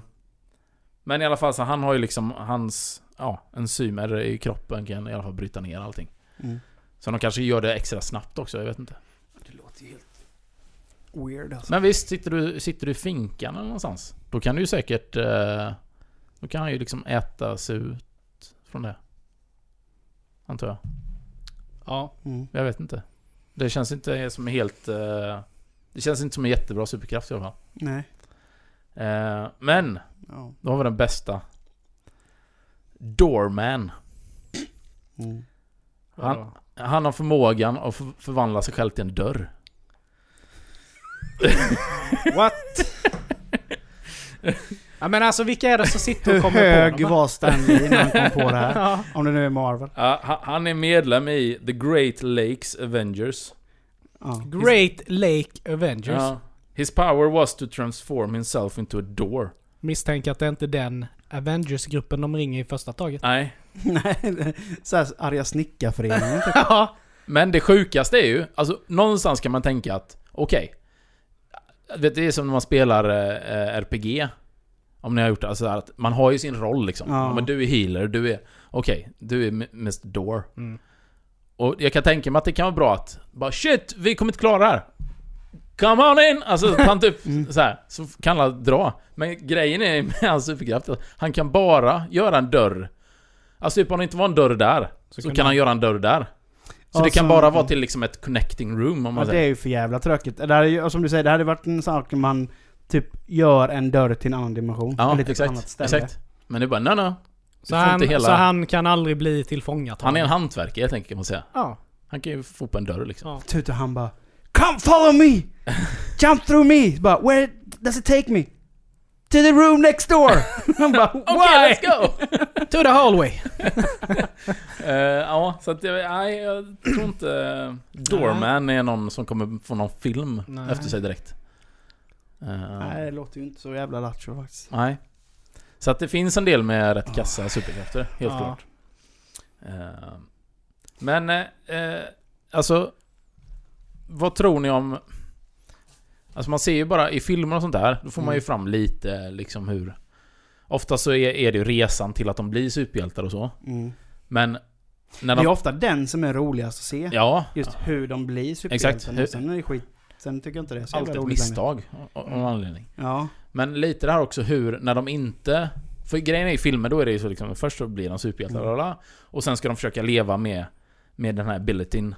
[SPEAKER 1] Men i alla fall så han har ju liksom hans ja, enzymer i kroppen kan i alla fall bryta ner allting.
[SPEAKER 2] Mm.
[SPEAKER 1] Så de kanske gör det extra snabbt också, jag vet inte.
[SPEAKER 2] Det låter ju helt weird alltså.
[SPEAKER 1] Men visst, sitter du, sitter du i finkan eller någonstans? Då kan du ju säkert... eh, Då kan han ju liksom äta sig ut från det. Antar jag.
[SPEAKER 3] Ja.
[SPEAKER 2] Mm.
[SPEAKER 1] Jag vet inte. Det känns inte som helt... eh, Det känns inte som en jättebra superkraft i alla fall.
[SPEAKER 2] Nej.
[SPEAKER 1] Eh, Men,
[SPEAKER 2] Ja.
[SPEAKER 1] då har vi den bästa. Doorman.
[SPEAKER 2] Mm.
[SPEAKER 1] Han, han har förmågan att för- förvandla sig själv till en dörr.
[SPEAKER 2] What?
[SPEAKER 3] ja. Men alltså vilka är det som sitter
[SPEAKER 2] Hur
[SPEAKER 3] och kommer
[SPEAKER 2] hög
[SPEAKER 3] på dem?
[SPEAKER 2] var Stanley innan han kom på det här?
[SPEAKER 3] Ja.
[SPEAKER 2] Om det nu är Marvel.
[SPEAKER 1] Ja, ha- han är medlem i The Great Lakes Avengers.
[SPEAKER 2] Ja.
[SPEAKER 3] Great Lake Avengers.
[SPEAKER 1] Ja. His power was to transform himself into a door.
[SPEAKER 3] Misstänker att det inte är den Avengers-gruppen de ringer i första taget.
[SPEAKER 1] Nej.
[SPEAKER 2] Nej, såhär arga snickarföreningen typ.
[SPEAKER 3] Ja.
[SPEAKER 1] Men det sjukaste är ju, alltså någonstans kan man tänka att, okej. vet det är som när man spelar eh, RPG. Om ni har gjort det, alltså att man har ju sin roll liksom.
[SPEAKER 2] Ja.
[SPEAKER 1] Ja. Men du är healer, du är, okej, du är Mr. Door.
[SPEAKER 3] Mm.
[SPEAKER 1] Och jag kan tänka mig att det kan vara bra att bara shit, vi kommer inte klara det här. Come on in! Alltså han typ så här, så kan alla dra. Men grejen är med hans superkraft att han kan bara göra en dörr. Alltså typ om det inte var en dörr där, så,
[SPEAKER 3] kan
[SPEAKER 1] kan han göra en dörr där. Så
[SPEAKER 2] Ja,
[SPEAKER 1] det kan
[SPEAKER 2] så-
[SPEAKER 1] bara vara till liksom ett connecting room om man
[SPEAKER 2] Men det
[SPEAKER 1] säger.
[SPEAKER 2] är ju för jävla tråkigt. Det här är ju, och som du säger, det hade varit en sak om man typ gör en dörr till en annan dimension.
[SPEAKER 1] Ja,
[SPEAKER 2] eller till ett annat
[SPEAKER 1] exakt,
[SPEAKER 2] ställe.
[SPEAKER 1] exakt. Men det är bara no no. Du
[SPEAKER 3] Så,
[SPEAKER 1] får
[SPEAKER 3] han,
[SPEAKER 1] inte hela...
[SPEAKER 3] så
[SPEAKER 1] han...
[SPEAKER 3] han kan aldrig bli tillfångatagen.
[SPEAKER 1] är en hantverkare helt enkelt kan man säga.
[SPEAKER 3] Ja.
[SPEAKER 1] Han kan ju få på en dörr liksom.
[SPEAKER 3] ja.
[SPEAKER 2] Tutu Typ han bara Come follow me! Jump through me! Bara where does it take me? To the room next door! Han bara
[SPEAKER 1] Okej,
[SPEAKER 2] why?
[SPEAKER 1] let's go!
[SPEAKER 3] To the hallway.
[SPEAKER 1] Eh, ja, så att jag, nej, jag tror inte eh, Doorman är någon som kommer få någon film
[SPEAKER 3] Nej.
[SPEAKER 1] efter sig direkt. Eh,
[SPEAKER 2] Nej det
[SPEAKER 1] nej.
[SPEAKER 2] låter ju inte så jävla lattjo faktiskt.
[SPEAKER 1] Så att det finns en del med rätt
[SPEAKER 2] Ah.
[SPEAKER 1] kassa superkrafter, helt
[SPEAKER 3] Ja.
[SPEAKER 1] klart. Eh, men, eh, eh, alltså... Vad tror ni om... Alltså man ser ju bara i filmer och sånt där, då får man ju
[SPEAKER 2] Mm.
[SPEAKER 1] fram lite liksom hur... Ofta så är, är det ju resan till att de blir superhjältar och så.
[SPEAKER 2] Mm.
[SPEAKER 1] Men... När
[SPEAKER 2] Det är
[SPEAKER 1] de...
[SPEAKER 2] ofta den som är roligast att se.
[SPEAKER 1] Ja.
[SPEAKER 2] Just hur de blir
[SPEAKER 1] Exakt.
[SPEAKER 2] superhjältarna. Sen är det skit. Sen tycker jag inte det är så
[SPEAKER 1] Alltid
[SPEAKER 2] jävla Mm.
[SPEAKER 1] ett
[SPEAKER 2] roligt längre.
[SPEAKER 1] misstag av av någon anledning.
[SPEAKER 2] Ja.
[SPEAKER 1] Men lite det här också hur, när de inte... För grejen är i filmer, då är det ju så liksom, först så blir de superhjältar
[SPEAKER 2] Mm.
[SPEAKER 1] mm. och sen ska de försöka leva med, med den här abilityn.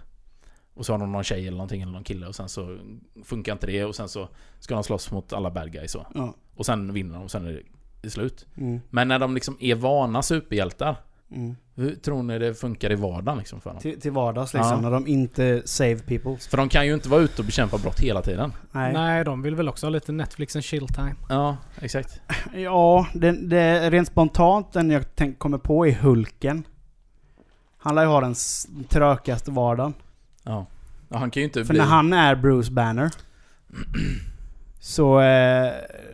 [SPEAKER 1] Och så har de någon tjej eller någonting eller någon kille och sen så funkar inte det och sen så ska de slåss mot alla bad guys och,
[SPEAKER 2] Ja.
[SPEAKER 1] och sen vinner de och sen är det- det är slut.
[SPEAKER 2] Mm.
[SPEAKER 1] Men när de liksom är vana superhjältar,
[SPEAKER 2] Mm.
[SPEAKER 1] hur tror ni det funkar i vardagen liksom för dem?
[SPEAKER 2] Till, till vardags liksom,
[SPEAKER 1] Ja.
[SPEAKER 2] när de inte save people.
[SPEAKER 1] För de kan ju inte vara ute och bekämpa brott hela tiden.
[SPEAKER 2] Nej.
[SPEAKER 3] Nej. de vill väl också ha lite Netflix and chill time.
[SPEAKER 1] Ja, exakt.
[SPEAKER 2] Ja, det, det, rent spontant den jag tänk, kommer på är Hulken. Han lär ju ha den s- trökaste vardagen.
[SPEAKER 1] Ja. ja han kan ju inte
[SPEAKER 2] För
[SPEAKER 1] bli...
[SPEAKER 2] när han är Bruce Banner så eh,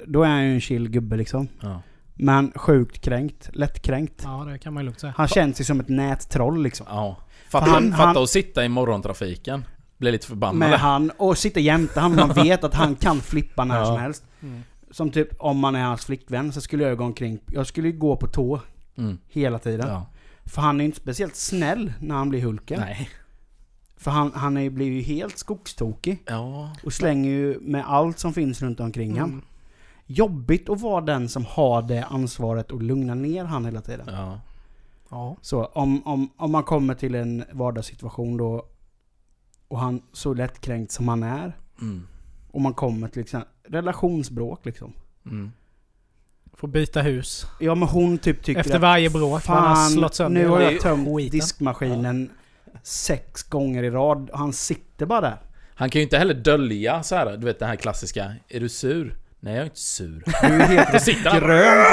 [SPEAKER 2] då är han ju en chill gubbe liksom.
[SPEAKER 1] Ja.
[SPEAKER 2] Men sjukt kränkt. Lättkränkt.
[SPEAKER 3] Ja, det kan man ju lugnt säga.
[SPEAKER 2] Han känns ju som ett nättroll liksom.
[SPEAKER 1] Ja. Fatta,
[SPEAKER 2] För han-
[SPEAKER 1] fatta
[SPEAKER 2] han-
[SPEAKER 1] att sitta i morgontrafiken. Blir lite förbannad.
[SPEAKER 2] Med han och sitter jämte han. Man vet att han kan flippa när
[SPEAKER 1] Ja.
[SPEAKER 2] som helst.
[SPEAKER 3] Mm.
[SPEAKER 2] Som typ om man är hans flickvän så skulle jag gå omkring. Jag skulle ju gå på tå
[SPEAKER 1] Mm.
[SPEAKER 2] hela tiden.
[SPEAKER 1] Ja.
[SPEAKER 2] För han är inte speciellt snäll när han blir Hulken.
[SPEAKER 1] Nej.
[SPEAKER 2] För han, han är, blir ju helt skogstokig.
[SPEAKER 1] Ja.
[SPEAKER 2] Och slänger ju med allt som finns runt omkring
[SPEAKER 3] Mm.
[SPEAKER 2] han. Jobbigt att vara den som har det ansvaret och lugna ner han hela tiden.
[SPEAKER 1] ja.
[SPEAKER 3] Ja.
[SPEAKER 2] Så om, om, om man kommer till en vardagssituation då och han så lättkränkt som han är.
[SPEAKER 1] Mm.
[SPEAKER 2] Och man kommer till liksom, relationsbråk liksom.
[SPEAKER 1] Mm.
[SPEAKER 3] Får byta hus.
[SPEAKER 2] Ja men hon typ tycker
[SPEAKER 3] Efter
[SPEAKER 2] att
[SPEAKER 3] varje bråk. Fan, han har slått
[SPEAKER 2] Fan,
[SPEAKER 3] sönder
[SPEAKER 2] nu har
[SPEAKER 1] Det är ju
[SPEAKER 2] jag tömt
[SPEAKER 3] skiten.
[SPEAKER 2] diskmaskinen sex gånger i rad och han sitter bara där.
[SPEAKER 1] Han kan ju inte heller dölja så här. du vet den här klassiska. Är du sur? Nej, jag är inte sur.
[SPEAKER 2] Du är helt
[SPEAKER 1] Då sitter han.
[SPEAKER 2] grön.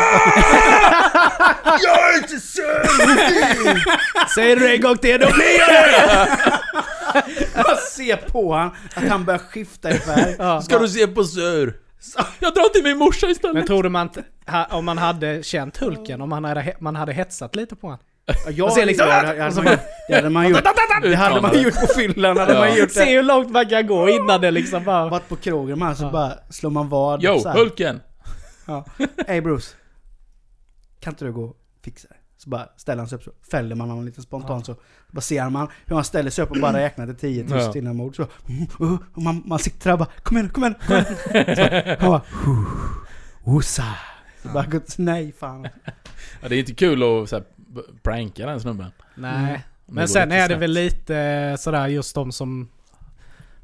[SPEAKER 1] Jag är inte sur!
[SPEAKER 3] Säger du det en gång till då blir jag
[SPEAKER 2] Jag ser på han att han börjar skifta i färg.
[SPEAKER 3] ja.
[SPEAKER 1] Ska du se på sur? Jag drar till min morsa
[SPEAKER 3] Men
[SPEAKER 1] istället.
[SPEAKER 3] tror du man inte- ha- om man hade känt Hulken, om man hade, he- man hade hetsat lite på honom?
[SPEAKER 2] Jag
[SPEAKER 3] ser liksom-
[SPEAKER 2] det, hade- det hade man gjort. Det hade man gjort. Det hade man gjort på fyllan. Hade
[SPEAKER 1] Ja.
[SPEAKER 2] man gjort
[SPEAKER 3] Se
[SPEAKER 2] det.
[SPEAKER 3] hur långt man kan gå innan det liksom bara...
[SPEAKER 2] Varit på krogen med han så
[SPEAKER 3] Ja.
[SPEAKER 2] bara slår man vad.
[SPEAKER 1] Yo,
[SPEAKER 2] så här.
[SPEAKER 1] Hulken!
[SPEAKER 2] Ja. Hey Bruce. Kan inte du gå och fixa det? Så bara ställer han sig upp så fäller man honom lite spontant så bara ser man hur han ställer sig upp och bara räknar till 10 tyst
[SPEAKER 1] Ja.
[SPEAKER 2] innan mord. Så, och man, man sitter där och bara kom igen, kom igen, kom igen. Så, han bara "Huh, osa. Så bara, "Gud, nej fan.
[SPEAKER 1] Ja, det är inte kul att så här, b- pranka den snubben.
[SPEAKER 3] Nej.
[SPEAKER 2] Mm.
[SPEAKER 1] Om
[SPEAKER 3] Men
[SPEAKER 1] går
[SPEAKER 3] sen
[SPEAKER 1] lite
[SPEAKER 3] är det
[SPEAKER 1] snett.
[SPEAKER 3] väl lite eh, sådär just de som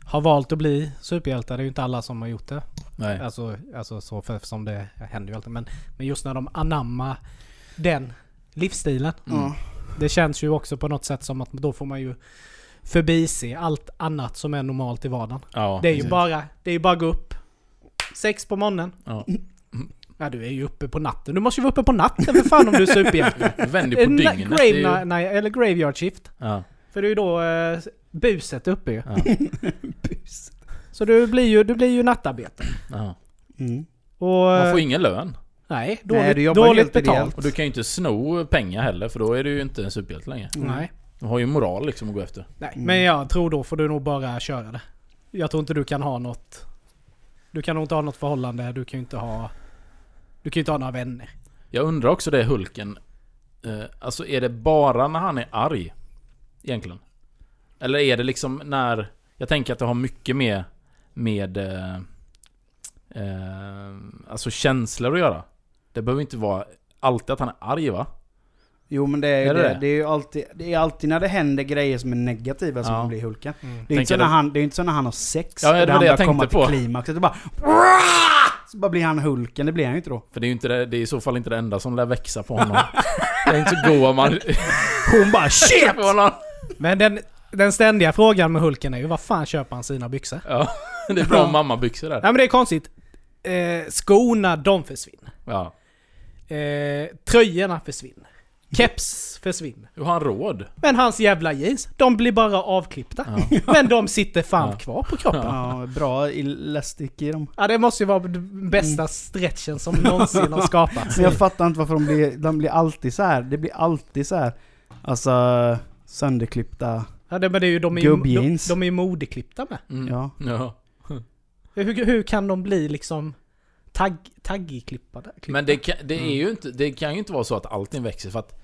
[SPEAKER 3] har valt att bli superhjältar. Det är ju inte alla som har gjort det.
[SPEAKER 1] Nej.
[SPEAKER 3] Alltså, alltså så för, som det händer ju alltid. Men, men just när de anammar den livsstilen.
[SPEAKER 2] Mm. Ja.
[SPEAKER 3] Det känns ju också på något sätt som att då får man ju förbise allt annat som är normalt i vardagen.
[SPEAKER 1] Ja,
[SPEAKER 3] Det är ju
[SPEAKER 1] precis.
[SPEAKER 3] bara, det är ju bara gå upp. Sex på morgonen.
[SPEAKER 1] Ja.
[SPEAKER 3] Ja du är ju uppe på natten. Du måste ju vara uppe på natten för fan om du är superhjälte.
[SPEAKER 1] Vänd dig på
[SPEAKER 3] En na-
[SPEAKER 1] dygnet. Det är ju-
[SPEAKER 3] grave, nej, eller graveyard shift.
[SPEAKER 1] Ja.
[SPEAKER 3] För det är ju då eh, buset uppe ju.
[SPEAKER 1] Ja.
[SPEAKER 2] Bus.
[SPEAKER 3] Så du blir ju, du blir ju nattarbete.
[SPEAKER 1] Ja.
[SPEAKER 2] Mm.
[SPEAKER 3] Och...
[SPEAKER 1] Man
[SPEAKER 3] eh,
[SPEAKER 1] får ingen lön.
[SPEAKER 3] Nej, dåligt,
[SPEAKER 2] Nej, du jobbar
[SPEAKER 3] dåligt
[SPEAKER 2] helt
[SPEAKER 3] betalt.
[SPEAKER 1] Och du kan ju inte sno pengar heller för då är du ju inte en superhjälte längre.
[SPEAKER 2] Mm.
[SPEAKER 3] Nej.
[SPEAKER 1] Du har ju moral liksom att gå efter.
[SPEAKER 3] Nej,
[SPEAKER 2] Mm.
[SPEAKER 3] men jag tror då får du nog bara köra det. Jag tror inte du kan ha något... Du kan nog inte ha något förhållande, du kan ju inte ha... Du kan ju inte ha några vänner.
[SPEAKER 1] Jag undrar också det Hulken. Eh, alltså är det bara när han är arg? Egentligen. Eller är det liksom när... Jag tänker att det har mycket med... Med... Eh, eh, alltså känslor att göra. Det behöver inte vara alltid att han är arg va?
[SPEAKER 2] Jo men det är, ju
[SPEAKER 1] Är det
[SPEAKER 2] det, det?
[SPEAKER 1] det?
[SPEAKER 2] är ju alltid, det är alltid när det händer grejer som är negativa som
[SPEAKER 1] Ja.
[SPEAKER 2] man blir Hulken. Det är,
[SPEAKER 1] Tänker
[SPEAKER 2] inte så
[SPEAKER 1] du-
[SPEAKER 2] när han, det är inte så när han har sex,
[SPEAKER 1] Ja, det var
[SPEAKER 2] där
[SPEAKER 1] det
[SPEAKER 2] han
[SPEAKER 1] jag
[SPEAKER 2] börjar komma
[SPEAKER 1] tänkte på.
[SPEAKER 2] till klimaxet och bara Så bara blir han Hulken, det blir han ju inte då.
[SPEAKER 1] För det är ju inte det, det är i så fall inte det enda som lär växa på honom. det är inte så god om man...
[SPEAKER 2] Hon bara shit!
[SPEAKER 1] på honom.
[SPEAKER 3] Men den, den ständiga frågan med Hulken är ju var fan köper han sina byxor?
[SPEAKER 1] Ja, det är bra mammabyxor där.
[SPEAKER 3] Nej men det är konstigt. Eh, skorna, de försvinner.
[SPEAKER 1] Ja.
[SPEAKER 3] Eh, tröjorna försvinner.
[SPEAKER 2] Mm.
[SPEAKER 3] Keps försvinner.
[SPEAKER 1] Hur har han råd?
[SPEAKER 3] Men hans jävla jeans, de blir bara avklippta. Men de sitter fan
[SPEAKER 1] Ja.
[SPEAKER 3] kvar på kroppen.
[SPEAKER 2] Ja, bra elastik i dem.
[SPEAKER 3] Ja det måste ju vara den
[SPEAKER 1] Mm.
[SPEAKER 3] bästa stretchen som någonsin har skapats.
[SPEAKER 2] Men jag fattar inte varför de blir, de blir alltid så här. det blir alltid så här. Alltså sönderklippta,
[SPEAKER 3] Ja, det, men det är ju, de är ju de,
[SPEAKER 2] Gubbjeans.
[SPEAKER 3] de är ju modeklippta med.
[SPEAKER 1] Mm.
[SPEAKER 2] ja.
[SPEAKER 1] ja.
[SPEAKER 3] Hur, hur kan de bli liksom tagg, taggklippade?
[SPEAKER 1] Men det kan, det, är ju inte, det kan ju inte vara så att allting växer för att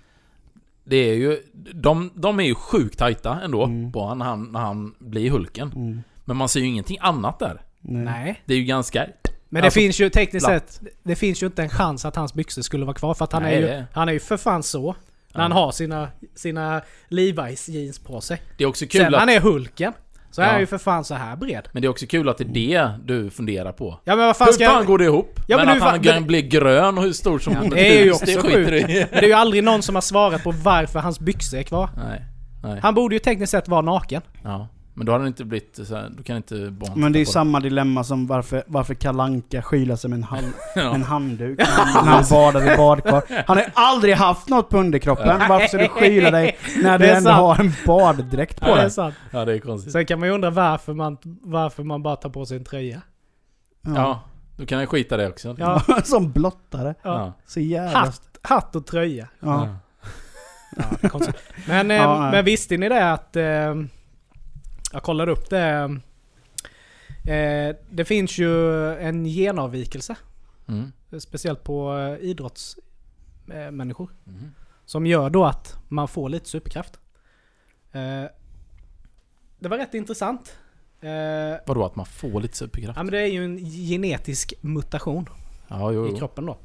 [SPEAKER 1] det är ju, de, de är ju sjukt tajta ändå
[SPEAKER 2] Mm.
[SPEAKER 1] på han, när han, när han blir Hulken.
[SPEAKER 2] Mm.
[SPEAKER 1] Men man ser ju ingenting annat där.
[SPEAKER 3] Nej.
[SPEAKER 1] Det är ju ganska...
[SPEAKER 3] Men det
[SPEAKER 1] Mm. Alltså,
[SPEAKER 3] finns ju tekniskt
[SPEAKER 1] platt.
[SPEAKER 3] sett, det finns ju inte en chans att hans byxor skulle vara kvar för att han,
[SPEAKER 1] Nej,
[SPEAKER 3] är, ju,
[SPEAKER 1] det-
[SPEAKER 3] han är ju för fan så. När
[SPEAKER 1] Ja.
[SPEAKER 3] han har sina, sina Levi's jeans på sig.
[SPEAKER 1] Det är också kul
[SPEAKER 3] Sen
[SPEAKER 1] att,
[SPEAKER 3] han är Hulken. Så är
[SPEAKER 1] Ja.
[SPEAKER 3] han ju för fan så här bred.
[SPEAKER 1] Men det är också kul att det är det du funderar på.
[SPEAKER 3] Ja men vad fan
[SPEAKER 1] Hur
[SPEAKER 3] ska
[SPEAKER 1] fan
[SPEAKER 3] jag...
[SPEAKER 1] går det ihop?
[SPEAKER 3] Ja,
[SPEAKER 1] men,
[SPEAKER 3] men
[SPEAKER 1] att
[SPEAKER 3] du,
[SPEAKER 1] han
[SPEAKER 3] fan-
[SPEAKER 1] grön-
[SPEAKER 3] men-
[SPEAKER 1] blir grön och hur stor som ett
[SPEAKER 3] det är ju
[SPEAKER 1] hus,
[SPEAKER 3] också
[SPEAKER 1] skiter du i.
[SPEAKER 3] Men det är ju aldrig någon som har svarat på varför hans byxor är kvar.
[SPEAKER 1] Nej. Nej.
[SPEAKER 3] Han borde ju tekniskt sett vara naken.
[SPEAKER 1] Ja. Men då har den inte blivit så här, då kan inte barn
[SPEAKER 2] Men det är ju
[SPEAKER 1] titta på
[SPEAKER 2] samma dilemma som varför, varför Kalanka skylar sig med en, hand,
[SPEAKER 1] Ja.
[SPEAKER 2] en handduk när han- när han badar i badkar. Han har ju aldrig haft något på underkroppen. Varför ska du skyla dig när
[SPEAKER 3] Det
[SPEAKER 2] du
[SPEAKER 3] är
[SPEAKER 2] ändå
[SPEAKER 3] sant.
[SPEAKER 2] har en baddräkt på
[SPEAKER 3] Ja, det är
[SPEAKER 2] dig?
[SPEAKER 3] sant.
[SPEAKER 1] Ja, det är konstigt.
[SPEAKER 3] Sen kan man ju undra varför man, varför man bara tar på sig en tröja.
[SPEAKER 1] Ja. Då kan jag skita det också.
[SPEAKER 3] Ja.
[SPEAKER 2] Som blottare.
[SPEAKER 1] Ja.
[SPEAKER 2] Så jävla...
[SPEAKER 3] Hatt, hatt och tröja.
[SPEAKER 2] Ja.
[SPEAKER 3] Ja, konstigt. men, eh,
[SPEAKER 2] Ja, ja.
[SPEAKER 3] men visste ni det att... Eh, jag kollade upp det. Eh, det finns ju en genavvikelse.
[SPEAKER 1] Mm.
[SPEAKER 3] Speciellt på eh, idrottsmänniskor. Eh, människor,
[SPEAKER 1] Mm.
[SPEAKER 3] som gör då att man får lite superkraft. Eh, det var rätt intressant. Eh,
[SPEAKER 1] Vadå att man får lite superkraft?
[SPEAKER 3] Ja men det är ju en genetisk mutation
[SPEAKER 1] Ja, jo,
[SPEAKER 3] i
[SPEAKER 1] jo.
[SPEAKER 3] kroppen då.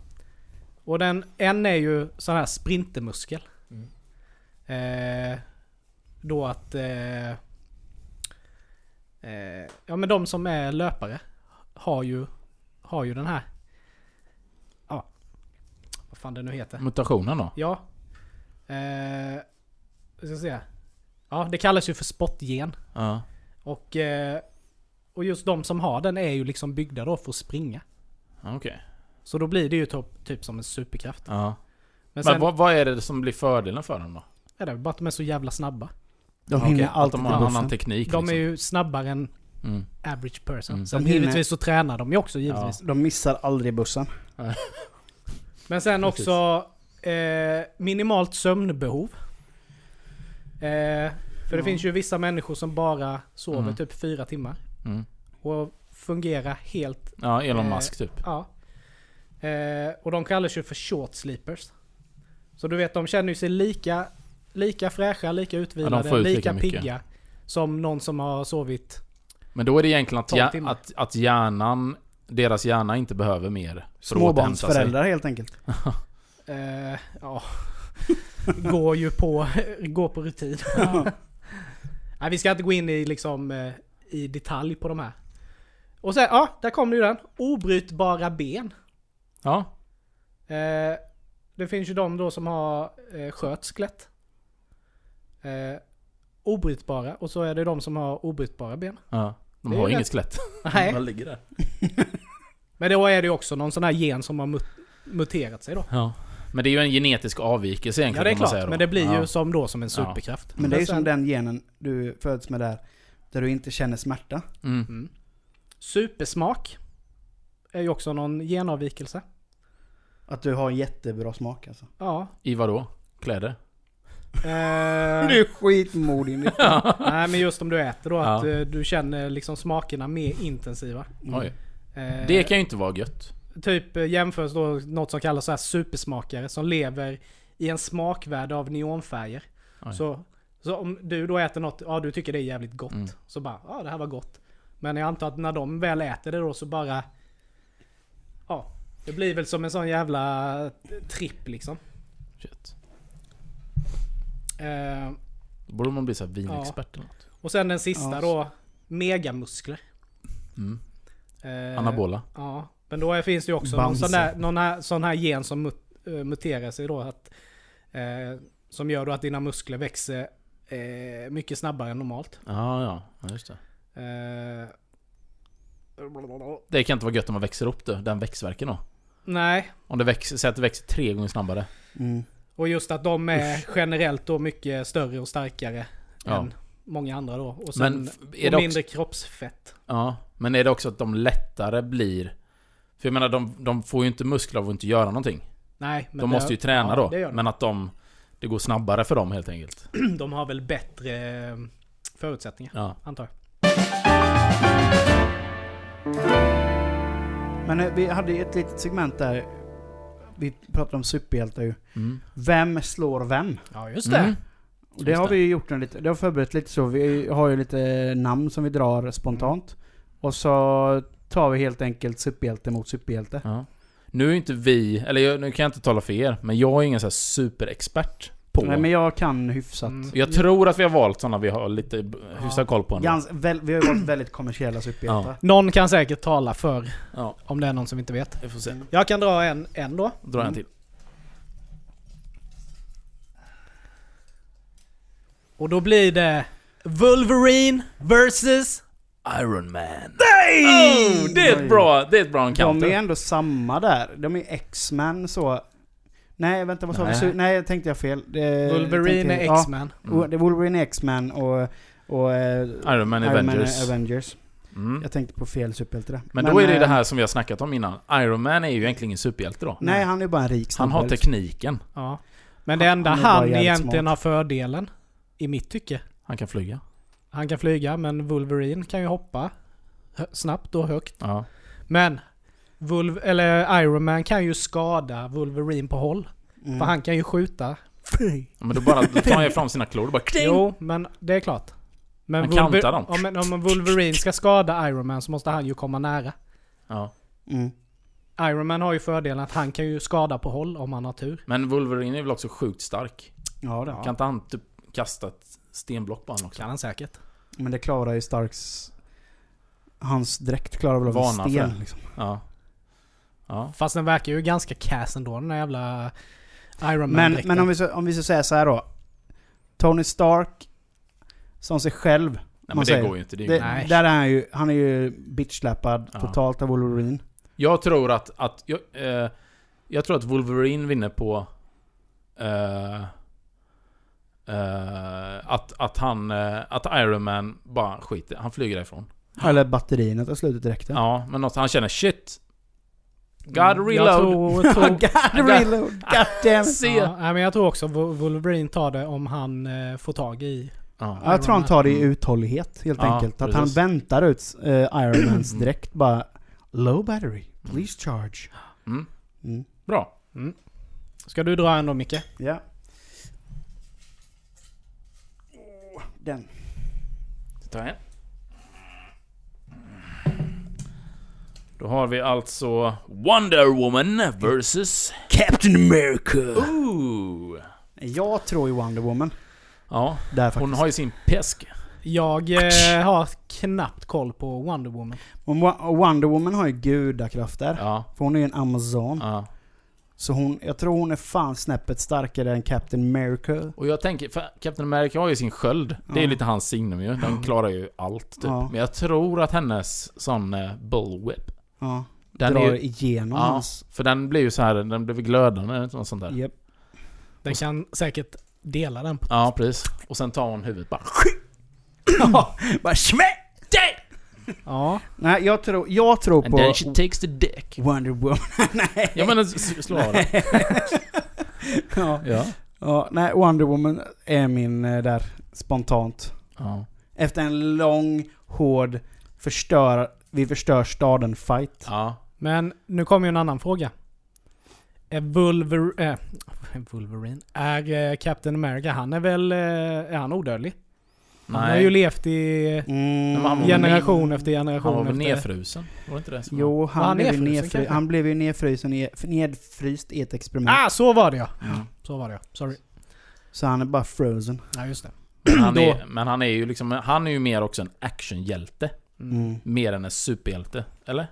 [SPEAKER 3] Och den, en är ju sån här sprintermuskel. Eh, då att... Eh, eh, ja men de som är löpare har ju, har ju den här... Ja. Vad fan det nu heter.
[SPEAKER 1] Mutationen då?
[SPEAKER 3] Ja. Eh, vad ska jag säga? Ja det kallas ju för spottgen.
[SPEAKER 1] Ja.
[SPEAKER 3] Och, eh, och just de som har den är ju liksom byggda då för att springa.
[SPEAKER 1] Okej.
[SPEAKER 3] Så då blir det ju typ, typ som en superkraft.
[SPEAKER 1] Ja.
[SPEAKER 3] Men
[SPEAKER 1] Men,
[SPEAKER 3] sen
[SPEAKER 1] vad, vad är det som blir fördelen för dem då?
[SPEAKER 3] är det bara att de är så jävla snabba.
[SPEAKER 2] De
[SPEAKER 1] Okej,
[SPEAKER 2] hinner
[SPEAKER 1] att
[SPEAKER 2] alltid
[SPEAKER 1] de
[SPEAKER 2] till
[SPEAKER 1] har en annan
[SPEAKER 2] buffen.
[SPEAKER 1] teknik
[SPEAKER 3] De är
[SPEAKER 1] liksom.
[SPEAKER 3] ju snabbare än
[SPEAKER 1] Mm.
[SPEAKER 3] average person.
[SPEAKER 1] Mm.
[SPEAKER 3] Sen
[SPEAKER 2] De hinner-
[SPEAKER 3] givetvis så tränar de ju också givetvis.
[SPEAKER 2] De missar aldrig bussen.
[SPEAKER 3] Men sen
[SPEAKER 1] Precis.
[SPEAKER 3] också eh, minimalt sömnbehov. Eh, för det
[SPEAKER 2] Ja.
[SPEAKER 3] finns ju vissa människor som bara sover
[SPEAKER 1] Mm.
[SPEAKER 3] typ fyra timmar.
[SPEAKER 1] Mm.
[SPEAKER 3] Och fungerar helt,
[SPEAKER 1] Ja, Elon
[SPEAKER 3] Eh,
[SPEAKER 1] Musk typ.
[SPEAKER 3] ja. Eh, och de kallas ju för short sleepers. Så du vet, de känner ju sig lika, lika fräscha, lika
[SPEAKER 1] Ja, de
[SPEAKER 3] utvilade,
[SPEAKER 1] får ut
[SPEAKER 3] lika,
[SPEAKER 1] lika mycket.
[SPEAKER 3] pigga. Som någon som har sovit.
[SPEAKER 1] Men då är det egentligen att,
[SPEAKER 3] Tolv
[SPEAKER 1] ja,
[SPEAKER 3] timmar.
[SPEAKER 1] att, att hjärnan, deras hjärna inte behöver mer. för att återhämta sig.
[SPEAKER 2] Småbarnsföräldrar helt enkelt.
[SPEAKER 3] Eh, ja. går ju på, går på rutin. Nej, vi ska inte gå in i, liksom, eh, i detalj på de här. Och sen, ja, där kom ju den. Obrytbara ben.
[SPEAKER 1] Ja.
[SPEAKER 3] Eh, det finns ju de då som har eh, skört skelett. Eh, obrytbara. Och så är det de som har obrytbara ben.
[SPEAKER 1] ja. De
[SPEAKER 3] Det är
[SPEAKER 1] har
[SPEAKER 3] ju
[SPEAKER 1] inget
[SPEAKER 3] rätt.
[SPEAKER 1] skelett.
[SPEAKER 3] Nej.
[SPEAKER 1] ligger där.
[SPEAKER 3] Men då är det ju också någon sån här gen som har mut- muterat sig då.
[SPEAKER 1] Ja. Men det är ju en genetisk avvikelse
[SPEAKER 3] Ja
[SPEAKER 1] egentligen
[SPEAKER 3] det är
[SPEAKER 1] kan man säga
[SPEAKER 3] klart,
[SPEAKER 1] då.
[SPEAKER 3] men det blir
[SPEAKER 1] ja.
[SPEAKER 3] ju som då som en superkraft.
[SPEAKER 2] Men det är ju som
[SPEAKER 3] sen-
[SPEAKER 2] den genen du föds med där. Där du inte känner smärta.
[SPEAKER 1] Mm.
[SPEAKER 3] Mm. Supersmak. Är ju också någon genavvikelse.
[SPEAKER 2] Att du har jättebra smak alltså.
[SPEAKER 3] Ja.
[SPEAKER 1] I vad då? Kläder?
[SPEAKER 3] Eh,
[SPEAKER 2] Du är skitmodig Nick.
[SPEAKER 3] nej men just om du äter då, att
[SPEAKER 1] Ja.
[SPEAKER 3] eh, du känner liksom smakerna mer intensiva.
[SPEAKER 1] Oj.
[SPEAKER 3] Eh,
[SPEAKER 1] Det kan ju inte vara gött.
[SPEAKER 3] Typ eh, jämförs då något som kallas så här supersmakare som lever i en smakvärld av neonfärger.
[SPEAKER 1] Oj.
[SPEAKER 3] Så, så om du då äter något, ja du tycker det är jävligt gott.
[SPEAKER 1] Mm.
[SPEAKER 3] Så bara, ja det här var gott. Men jag antar att när de väl äter det då så bara... Ja, det blir väl som en sån jävla tripp liksom.
[SPEAKER 1] Shit.
[SPEAKER 3] Eh,
[SPEAKER 1] Då borde man bli så här vinexpert eller något.
[SPEAKER 3] och sen den sista
[SPEAKER 2] Ja.
[SPEAKER 3] då, megamuskler.
[SPEAKER 1] Mm.
[SPEAKER 3] Eh,
[SPEAKER 1] Anabola.
[SPEAKER 3] Ja, men då är- finns det ju också någon
[SPEAKER 2] Bamse.
[SPEAKER 3] sån, där, någon här, sån här gen som mut, eh, muterar sig då. Att, eh, som gör då att dina muskler växer eh, mycket snabbare än normalt.
[SPEAKER 1] Ja, ja. ja just det.
[SPEAKER 3] Eh,
[SPEAKER 2] Mm.
[SPEAKER 1] det kan inte vara gött om man växer upp det, den växtverken då.
[SPEAKER 3] nej,
[SPEAKER 1] Om det växer, säg att det växer tre gånger snabbare.
[SPEAKER 2] Mm.
[SPEAKER 3] och just att de är generellt då mycket större och starkare
[SPEAKER 1] Ja.
[SPEAKER 3] än många andra då. Och, sen,
[SPEAKER 1] Men f- är
[SPEAKER 3] och
[SPEAKER 1] det
[SPEAKER 3] mindre
[SPEAKER 1] också,
[SPEAKER 3] kroppsfett.
[SPEAKER 1] ja, men är det också att de lättare blir... För jag menar, de, de får ju inte muskler av att inte göra någonting.
[SPEAKER 3] Nej, men
[SPEAKER 1] de
[SPEAKER 3] det-
[SPEAKER 1] måste ju träna
[SPEAKER 3] ja,
[SPEAKER 1] då.
[SPEAKER 3] det gör de.
[SPEAKER 1] Men att de... Det går snabbare för dem helt enkelt.
[SPEAKER 3] de har väl bättre eh, förutsättningar,
[SPEAKER 1] Ja.
[SPEAKER 3] antar jag.
[SPEAKER 2] Men eh, vi hade ju ett litet segment där. Vi pratade om superhjältar ju.
[SPEAKER 1] Mm.
[SPEAKER 2] Vem slår vem?
[SPEAKER 3] Ja, just det.
[SPEAKER 1] Mm.
[SPEAKER 2] Och det
[SPEAKER 1] Just
[SPEAKER 2] har
[SPEAKER 1] det.
[SPEAKER 2] vi ju gjort en lite, det har förberett lite så. Vi har ju lite namn som vi drar spontant.
[SPEAKER 1] Mm.
[SPEAKER 2] Och så tar vi helt enkelt superhjälte mot superhjälte.
[SPEAKER 1] Ja. Nu är ju inte vi, eller jag, nu kan jag inte tala för er, men jag är ingen så här superexpert på...
[SPEAKER 2] Nej men jag kan hyfsat.
[SPEAKER 3] Mm.
[SPEAKER 1] Jag tror att vi har valt sådana vi har lite b-
[SPEAKER 3] Ja.
[SPEAKER 1] hyfsad koll på. ändå.
[SPEAKER 2] Gans, väl, vi har ju varit väldigt kommersiella superhjältar.
[SPEAKER 3] Någon kan säkert tala för
[SPEAKER 1] Ja,
[SPEAKER 3] om det är någon som inte vet.
[SPEAKER 1] vi får se.
[SPEAKER 3] Jag kan dra en, en då.
[SPEAKER 1] Dra en till.
[SPEAKER 3] Och då blir det Wolverine vs...
[SPEAKER 1] Iron Man.
[SPEAKER 2] Nej!
[SPEAKER 1] Oh, det är ett bra, det är ett bra
[SPEAKER 2] De
[SPEAKER 1] encounter.
[SPEAKER 2] är ändå samma där. De är X-Men så... Nej vänta vad sa vi?
[SPEAKER 1] Nej.
[SPEAKER 2] Su- Nej tänkte Eh, jag fel. Det,
[SPEAKER 3] Wolverine
[SPEAKER 2] tänkte-
[SPEAKER 3] är X-Man.
[SPEAKER 2] Ja, det är Wolverine är X-Men och... och eh,
[SPEAKER 1] Mm. Iron Man
[SPEAKER 2] Iron Man
[SPEAKER 1] Avengers.
[SPEAKER 2] är Avengers.
[SPEAKER 1] Mm.
[SPEAKER 2] Jag tänkte på fel superhjälte där.
[SPEAKER 1] Men då är det ju
[SPEAKER 2] eh,
[SPEAKER 1] det här som vi har snackat om innan. Iron Man är ju egentligen ingen superhjälte då.
[SPEAKER 2] Nej han är bara en rik
[SPEAKER 1] Han har
[SPEAKER 2] snubbe.
[SPEAKER 1] tekniken.
[SPEAKER 3] Ja. Men det
[SPEAKER 2] Han-
[SPEAKER 3] enda
[SPEAKER 2] han
[SPEAKER 3] han,
[SPEAKER 2] är bara jävligt
[SPEAKER 3] egentligen
[SPEAKER 2] smart.
[SPEAKER 3] har fördelen, i mitt tycke,
[SPEAKER 1] Han kan flyga.
[SPEAKER 3] han kan flyga men Wolverine kan ju hoppa hö- snabbt och högt.
[SPEAKER 1] Ja.
[SPEAKER 3] Men Wolv- eller Iron Man kan ju skada Wolverine på håll.
[SPEAKER 2] Mm.
[SPEAKER 3] För han kan ju skjuta.
[SPEAKER 1] Ja, Men då bara då tar han ju fram sina klor och bara kling.
[SPEAKER 3] Jo, men det är klart. Men
[SPEAKER 1] Han
[SPEAKER 3] Wolver-
[SPEAKER 1] kantar dem.
[SPEAKER 3] Om, om Wolverine ska skada Iron Man så måste han ju komma nära.
[SPEAKER 1] Ja.
[SPEAKER 2] Mm.
[SPEAKER 3] Iron Man har ju fördelen att han kan ju skada på håll om han har tur.
[SPEAKER 1] Men Wolverine är väl också sjukt stark?
[SPEAKER 2] Ja, det.
[SPEAKER 1] Kan inte han typ kasta ett stenblock på honom också?
[SPEAKER 3] Kan han säkert.
[SPEAKER 2] Men det klarar ju Starks... Hans dräkt klarar väl av en
[SPEAKER 1] Vana för
[SPEAKER 2] sten
[SPEAKER 1] det.
[SPEAKER 2] liksom.
[SPEAKER 1] Ja. Ja.
[SPEAKER 3] Fast den verkar ju ganska kass ändå den där jävla Iron Man
[SPEAKER 2] Men, men om, vi så, om vi ska säga så här då. Tony Stark som sig själv.
[SPEAKER 1] Nej, men
[SPEAKER 2] man
[SPEAKER 1] det
[SPEAKER 2] säger.
[SPEAKER 1] går ju inte. Det är ju
[SPEAKER 2] Det,
[SPEAKER 3] Nej.
[SPEAKER 2] där är han ju, han är ju bitchsläpad
[SPEAKER 1] Ja.
[SPEAKER 2] totalt av Wolverine.
[SPEAKER 1] Jag tror att, att jag, eh, jag tror att Wolverine vinner på eh, eh, att, att han, eh, att Iron Man bara skiter Han flyger därifrån.
[SPEAKER 2] Eller batterierna tar slut direkt.
[SPEAKER 1] Ja,
[SPEAKER 2] Ja.
[SPEAKER 1] men något, han känner shit. God
[SPEAKER 3] Mm, Jag
[SPEAKER 1] reload.
[SPEAKER 3] tror, tror,
[SPEAKER 2] God reload, god damn it.
[SPEAKER 1] Se.
[SPEAKER 3] ja, nej, men jag tror också Vol- Wolverine tar det om han eh, får tag i...
[SPEAKER 1] Ja.
[SPEAKER 2] Ja, jag tror han tar det i
[SPEAKER 1] Mm.
[SPEAKER 2] uthållighet helt
[SPEAKER 1] Ja,
[SPEAKER 2] enkelt. Att
[SPEAKER 1] precis.
[SPEAKER 2] han väntar ut eh, Iron Mans
[SPEAKER 1] Mm.
[SPEAKER 2] direkt bara Low battery, please charge.
[SPEAKER 1] Mm.
[SPEAKER 2] Mm.
[SPEAKER 1] Bra.
[SPEAKER 3] Mm. Ska du dra en då Micke?
[SPEAKER 2] Ja. Åh, Den.
[SPEAKER 1] Ta en. Då har vi alltså Wonder Woman versus...
[SPEAKER 2] Captain America!
[SPEAKER 1] Ooh.
[SPEAKER 2] Jag tror ju Wonder Woman.
[SPEAKER 1] Ja,
[SPEAKER 2] Där faktiskt.
[SPEAKER 1] hon har ju sin pesk.
[SPEAKER 3] Jag eh, har knappt koll på Wonder Woman.
[SPEAKER 2] Och Wa- och Wonder Woman har ju gudakrafter.
[SPEAKER 1] Ja.
[SPEAKER 2] För hon är ju en Amazon.
[SPEAKER 1] ja.
[SPEAKER 2] Så hon, jag tror hon är fan snäppet starkare än Captain America.
[SPEAKER 1] Och jag tänker, för Captain America har ju sin sköld. Det är ju
[SPEAKER 2] Ja.
[SPEAKER 1] lite hans signum ju. Den klarar ju allt typ.
[SPEAKER 2] Ja.
[SPEAKER 1] Men jag tror att hennes sån eh, bullwhip.
[SPEAKER 2] Ja.
[SPEAKER 1] Den
[SPEAKER 2] drar
[SPEAKER 1] är ju,
[SPEAKER 2] igenom
[SPEAKER 1] Ja.
[SPEAKER 2] hans...
[SPEAKER 1] För den blir ju så här, den blir glödande eller något sånt där.
[SPEAKER 2] Japp.
[SPEAKER 3] Den kan säkert dela den på.
[SPEAKER 1] Ja, precis. Och sen tar hon huvudet bara.
[SPEAKER 2] Bara smäck!
[SPEAKER 3] Ja.
[SPEAKER 2] Nej, jag tror, jag tror
[SPEAKER 1] And then
[SPEAKER 2] på
[SPEAKER 1] she takes the dick.
[SPEAKER 2] Wonder Woman.
[SPEAKER 1] Ja men s- s- slå av den.
[SPEAKER 2] ja.
[SPEAKER 1] Ja.
[SPEAKER 2] Ja, nej, Wonder Woman är min eh, där, spontant.
[SPEAKER 1] ja.
[SPEAKER 2] Efter en lång, hård, förstör, vi förstör staden fight.
[SPEAKER 1] Ja.
[SPEAKER 3] Men nu kommer ju en annan fråga. Är Wolver- eh, Wolverine? Är eh, Captain America, han är väl... Eh, är han odödlig? Han har
[SPEAKER 1] Nej.
[SPEAKER 3] ju levt i
[SPEAKER 2] Mm.
[SPEAKER 1] Men han var väl
[SPEAKER 3] generation efter
[SPEAKER 1] Han
[SPEAKER 3] generation
[SPEAKER 1] var väl
[SPEAKER 3] efter...
[SPEAKER 1] nedfrusen? Var det inte det som var-
[SPEAKER 2] Jo, han,
[SPEAKER 3] han
[SPEAKER 2] blev ju
[SPEAKER 3] nedfrusen
[SPEAKER 2] nedfry-
[SPEAKER 3] kanske?
[SPEAKER 2] han blev ju nedfrusen i, nedfryst i ett experiment.
[SPEAKER 3] Ah, så var det ja!
[SPEAKER 1] Ja.
[SPEAKER 3] Så var det ja. Sorry.
[SPEAKER 2] Så han är bara frozen.
[SPEAKER 3] Ja, just det.
[SPEAKER 1] Men han,
[SPEAKER 3] Då-
[SPEAKER 1] är, men han är ju liksom, han är ju mer också en actionhjälte.
[SPEAKER 2] Mm.
[SPEAKER 1] Mer än en superhjälte. Eller?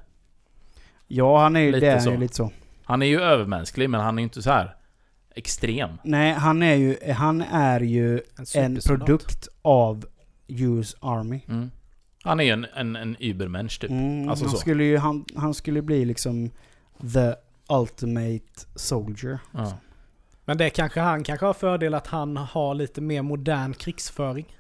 [SPEAKER 2] Ja, han är ju
[SPEAKER 1] Lite
[SPEAKER 2] det. Han
[SPEAKER 1] så.
[SPEAKER 2] är ju lite så.
[SPEAKER 1] Han är ju övermänsklig men han är ju inte så här extrem.
[SPEAKER 2] Nej, han är ju, han är ju en
[SPEAKER 3] supersoldat.
[SPEAKER 2] produkt av US Army.
[SPEAKER 1] Mm. Han är ju en, en, en übermensch typ.
[SPEAKER 2] Mm,
[SPEAKER 1] Alltså
[SPEAKER 2] han,
[SPEAKER 1] så.
[SPEAKER 2] Skulle ju, han, han skulle bli liksom the ultimate soldier.
[SPEAKER 1] Ja.
[SPEAKER 3] Men det kanske han kanske har fördel att han har lite mer modern krigsföring.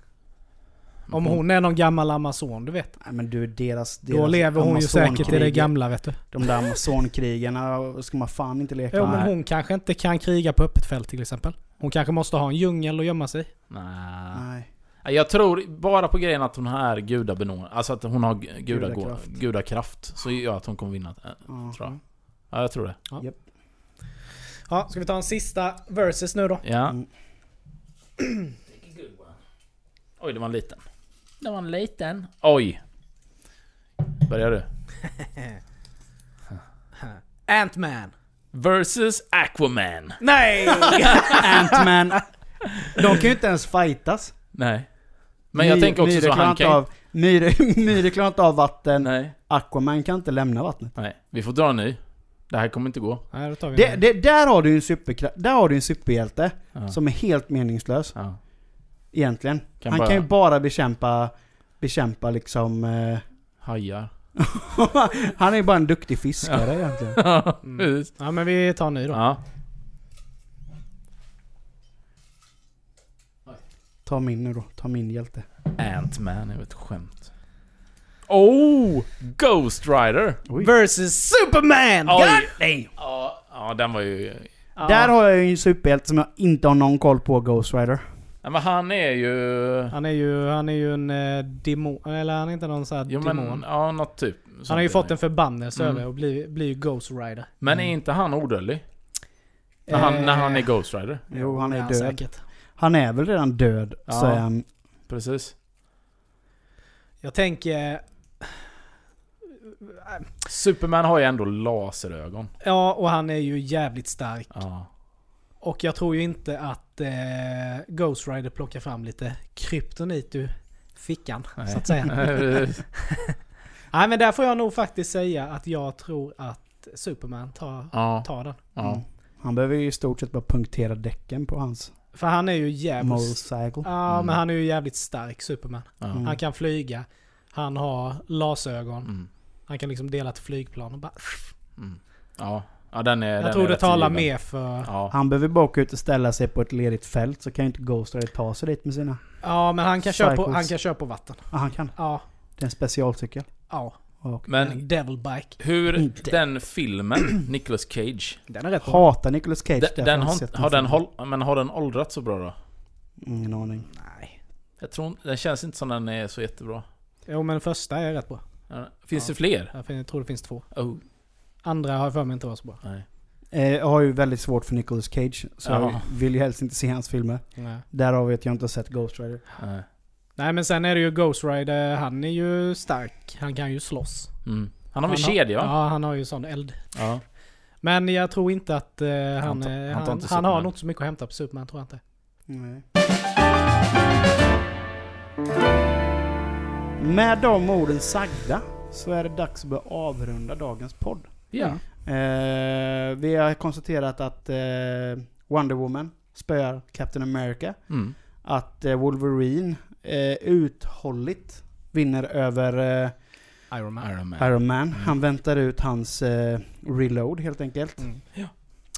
[SPEAKER 3] Om
[SPEAKER 2] Mm.
[SPEAKER 3] hon är någon gammal amazon, du vet.
[SPEAKER 2] Nej men du, deras... deras
[SPEAKER 3] Då lever hon ju säkert i det
[SPEAKER 2] Amazonkriget-
[SPEAKER 3] gamla vet du.
[SPEAKER 2] De där Amazonkrigarna ska man fan inte leka
[SPEAKER 3] Jo
[SPEAKER 2] med.
[SPEAKER 3] men hon kanske inte kan kriga på öppet fält till exempel. Hon kanske måste ha en djungel och gömma sig.
[SPEAKER 1] Nej.
[SPEAKER 2] Nej.
[SPEAKER 1] Jag tror bara på grejen att hon är gudabenådad. Alltså att hon har gu- gudakraft.
[SPEAKER 2] Gudakraft.
[SPEAKER 1] gudakraft. Så gör att hon kommer vinna. eh,
[SPEAKER 2] Ja.
[SPEAKER 1] Tror jag. Ja, jag tror det.
[SPEAKER 3] Ja, ska vi ta en sista versus nu då?
[SPEAKER 1] Ja.
[SPEAKER 2] Mm.
[SPEAKER 1] Oj, det var en liten. Det var en liten. Oj. Börjar du?
[SPEAKER 3] Ant-Man!
[SPEAKER 1] Versus Aquaman.
[SPEAKER 3] Nej!
[SPEAKER 2] Ant-Man. De kan ju inte ens fightas.
[SPEAKER 1] Nej. Men jag tänker också så
[SPEAKER 2] klarar
[SPEAKER 1] han
[SPEAKER 2] inte
[SPEAKER 1] kan...
[SPEAKER 2] av- Myre Myre klarar inte av vatten.
[SPEAKER 1] Nej.
[SPEAKER 2] Aquaman kan inte lämna vattnet.
[SPEAKER 1] Nej. Vi får dra en ny. Det här kommer inte gå.
[SPEAKER 3] Nej, då tar vi
[SPEAKER 2] Det,
[SPEAKER 3] det,
[SPEAKER 2] det, där har du ju en superkra- Där har du en superhjälte
[SPEAKER 1] Ja.
[SPEAKER 2] som är helt meningslös
[SPEAKER 1] Ja.
[SPEAKER 2] egentligen.
[SPEAKER 1] Kan
[SPEAKER 2] han
[SPEAKER 1] bara-
[SPEAKER 2] kan ju bara bekämpa, bekämpa liksom... Eh,
[SPEAKER 1] Hajar.
[SPEAKER 2] han är ju bara en duktig fiskare egentligen.
[SPEAKER 1] Precis.
[SPEAKER 3] Ja men vi tar en ny då.
[SPEAKER 1] Mm. Ja.
[SPEAKER 2] Ta min nu då, ta min hjälte.
[SPEAKER 1] Ant-Man är ju ett skämt. Oh! Ghost Rider!
[SPEAKER 2] Oj.
[SPEAKER 3] Versus Superman!
[SPEAKER 1] Oj.
[SPEAKER 3] God damn!
[SPEAKER 1] Ja, ja, den var ju...
[SPEAKER 2] Där har jag ju en superhjälte som jag inte har någon koll på, Ghost Rider.
[SPEAKER 1] Ja, men han är ju...
[SPEAKER 3] Han är ju, han är ju en eh, demon, eller han är inte någon sån här
[SPEAKER 1] Jo
[SPEAKER 3] demon.
[SPEAKER 1] men, ja något typ.
[SPEAKER 3] han har ju fått en förbannelse
[SPEAKER 1] Mm.
[SPEAKER 3] över och blir, blir ju Ghost Rider.
[SPEAKER 1] Men är inte han odödlig? När han, när han är
[SPEAKER 3] Eh,
[SPEAKER 1] Ghost Rider?
[SPEAKER 2] Jo, han
[SPEAKER 3] det
[SPEAKER 2] är död.
[SPEAKER 3] säkert.
[SPEAKER 2] Han är väl redan död,
[SPEAKER 1] Ja.
[SPEAKER 2] så är han...
[SPEAKER 1] Precis.
[SPEAKER 3] Jag tänker...
[SPEAKER 1] Superman har ju ändå laserögon.
[SPEAKER 3] Ja, och han är ju jävligt stark.
[SPEAKER 1] Ja.
[SPEAKER 3] Och jag tror ju inte att eh, Ghost Rider plockar fram lite kryptonit ur fickan, så att säga. Nej men där får jag nog faktiskt säga att jag tror att Superman tar,
[SPEAKER 1] ja.
[SPEAKER 3] tar den.
[SPEAKER 1] ja.
[SPEAKER 2] Mm. Han behöver ju i stort sett bara punktera däcken på hans
[SPEAKER 3] För han är ju jävligt...
[SPEAKER 2] motorcycle.
[SPEAKER 3] Ja,
[SPEAKER 1] Mm.
[SPEAKER 3] men han är ju jävligt stark, Superman.
[SPEAKER 1] ja.
[SPEAKER 2] Mm.
[SPEAKER 3] Han kan flyga, han har laserögon,
[SPEAKER 1] Mm.
[SPEAKER 3] han kan liksom dela ett flygplan och bara...
[SPEAKER 1] Mm. Ja. ja, den är... den
[SPEAKER 3] jag tror
[SPEAKER 1] är
[SPEAKER 3] det
[SPEAKER 1] rätt
[SPEAKER 3] talar
[SPEAKER 1] given.
[SPEAKER 3] mer för...
[SPEAKER 1] Ja.
[SPEAKER 2] Han behöver bara åka ut och ställa sig på ett ledigt fält så kan ju inte Ghost Rider ta sig dit med sina...
[SPEAKER 3] Ja, men han kan, köra på,
[SPEAKER 2] Cycles.
[SPEAKER 3] han kan köra på vatten.
[SPEAKER 2] Ja, han kan.
[SPEAKER 3] Ja,
[SPEAKER 2] Det är en specialcykel.
[SPEAKER 3] ja.
[SPEAKER 2] Och
[SPEAKER 1] Men
[SPEAKER 3] Devil Bike.
[SPEAKER 1] hur...
[SPEAKER 2] Inte.
[SPEAKER 1] Den filmen, Nicolas Cage.
[SPEAKER 3] Den är rätt bra.
[SPEAKER 2] hatar Nicolas Cage
[SPEAKER 1] Den,
[SPEAKER 2] därför
[SPEAKER 1] den
[SPEAKER 2] jag
[SPEAKER 1] har,
[SPEAKER 2] sett
[SPEAKER 1] inte- har den
[SPEAKER 2] filmen.
[SPEAKER 1] håll, men har den åldrats så bra då?
[SPEAKER 2] Ingen aning.
[SPEAKER 3] Nej.
[SPEAKER 1] Jag tror inte- Den känns inte som den är så jättebra.
[SPEAKER 3] Jo, men första är rätt bra.
[SPEAKER 1] Ja. Finns
[SPEAKER 3] Ja.
[SPEAKER 1] det fler?
[SPEAKER 3] Jag fin- jag tror det finns två.
[SPEAKER 1] Oh.
[SPEAKER 3] Andra har jag för mig inte var så bra.
[SPEAKER 1] Nej.
[SPEAKER 2] Eh, jag har ju väldigt svårt för Nicolas Cage, så
[SPEAKER 1] Ja.
[SPEAKER 2] jag vill ju helst inte se hans filmer.
[SPEAKER 3] Nej.
[SPEAKER 2] Därav vet jag inte har sett Ghost Rider.
[SPEAKER 1] Nej.
[SPEAKER 3] Nej men sen är det ju Ghost Rider, han är ju stark. Han kan ju slåss.
[SPEAKER 1] Mm. Han har väl kedja? va?
[SPEAKER 3] Ja, han har ju sån eld.
[SPEAKER 1] Ja.
[SPEAKER 3] Men jag tror inte att eh, han,
[SPEAKER 1] Han
[SPEAKER 3] han,
[SPEAKER 1] tar-
[SPEAKER 3] han,
[SPEAKER 1] han tar
[SPEAKER 3] han,
[SPEAKER 1] inte
[SPEAKER 3] har
[SPEAKER 1] Superman.
[SPEAKER 3] nog inte så mycket att hämta på Superman tror jag inte.
[SPEAKER 2] Nej. Med de orden sagda så är det dags att börja avrunda dagens podd.
[SPEAKER 1] ja.
[SPEAKER 2] Eh, vi har konstaterat att eh, Wonder Woman spöar Captain America.
[SPEAKER 1] Mm.
[SPEAKER 2] Att eh, Wolverine eh, uthålligt vinner över eh,
[SPEAKER 3] Iron Man.
[SPEAKER 1] Iron Man.
[SPEAKER 2] Iron Man. Han väntar ut hans eh, reload helt enkelt.
[SPEAKER 3] Mm.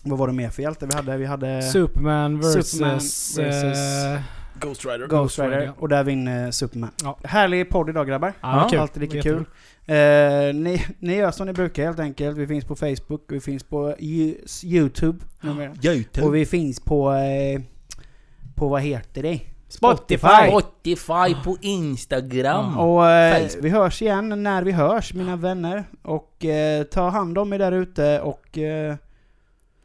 [SPEAKER 2] Vad var det mer för hjälte vi hade? Vi hade
[SPEAKER 3] Superman versus...
[SPEAKER 2] Superman
[SPEAKER 3] eh,
[SPEAKER 2] versus-
[SPEAKER 1] Ghost Rider.
[SPEAKER 2] Ghost
[SPEAKER 3] Rider,
[SPEAKER 2] Rider
[SPEAKER 3] ja.
[SPEAKER 2] och där vinner Superman.
[SPEAKER 3] Ja.
[SPEAKER 2] Härlig podd idag grabbar.
[SPEAKER 3] ja, vad
[SPEAKER 1] Ja,
[SPEAKER 3] kul.
[SPEAKER 2] Alltid lika kul.
[SPEAKER 3] Jättekul.
[SPEAKER 2] Eh, ni, ni gör som ni brukar helt enkelt. Vi finns på Facebook, vi finns på Ju- Youtube. numera. Och vi finns på... Eh, på vad heter det?
[SPEAKER 1] Spotify på Instagram.
[SPEAKER 2] Och eh,
[SPEAKER 1] Facebook.
[SPEAKER 2] vi hörs igen när vi hörs mina vänner. Och eh, ta hand om er där ute och... Eh,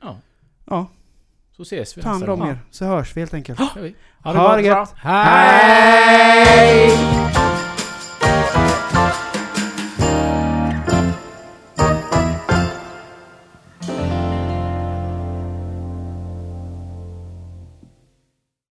[SPEAKER 1] Ja.
[SPEAKER 2] ja,
[SPEAKER 1] Så ses vi
[SPEAKER 2] ta hand
[SPEAKER 1] nästa
[SPEAKER 2] om
[SPEAKER 1] gång.
[SPEAKER 2] er. Så hörs vi helt enkelt.
[SPEAKER 1] Ja, vi-
[SPEAKER 3] Ha det
[SPEAKER 2] Ha
[SPEAKER 3] bra.
[SPEAKER 2] det gött.
[SPEAKER 3] Hej!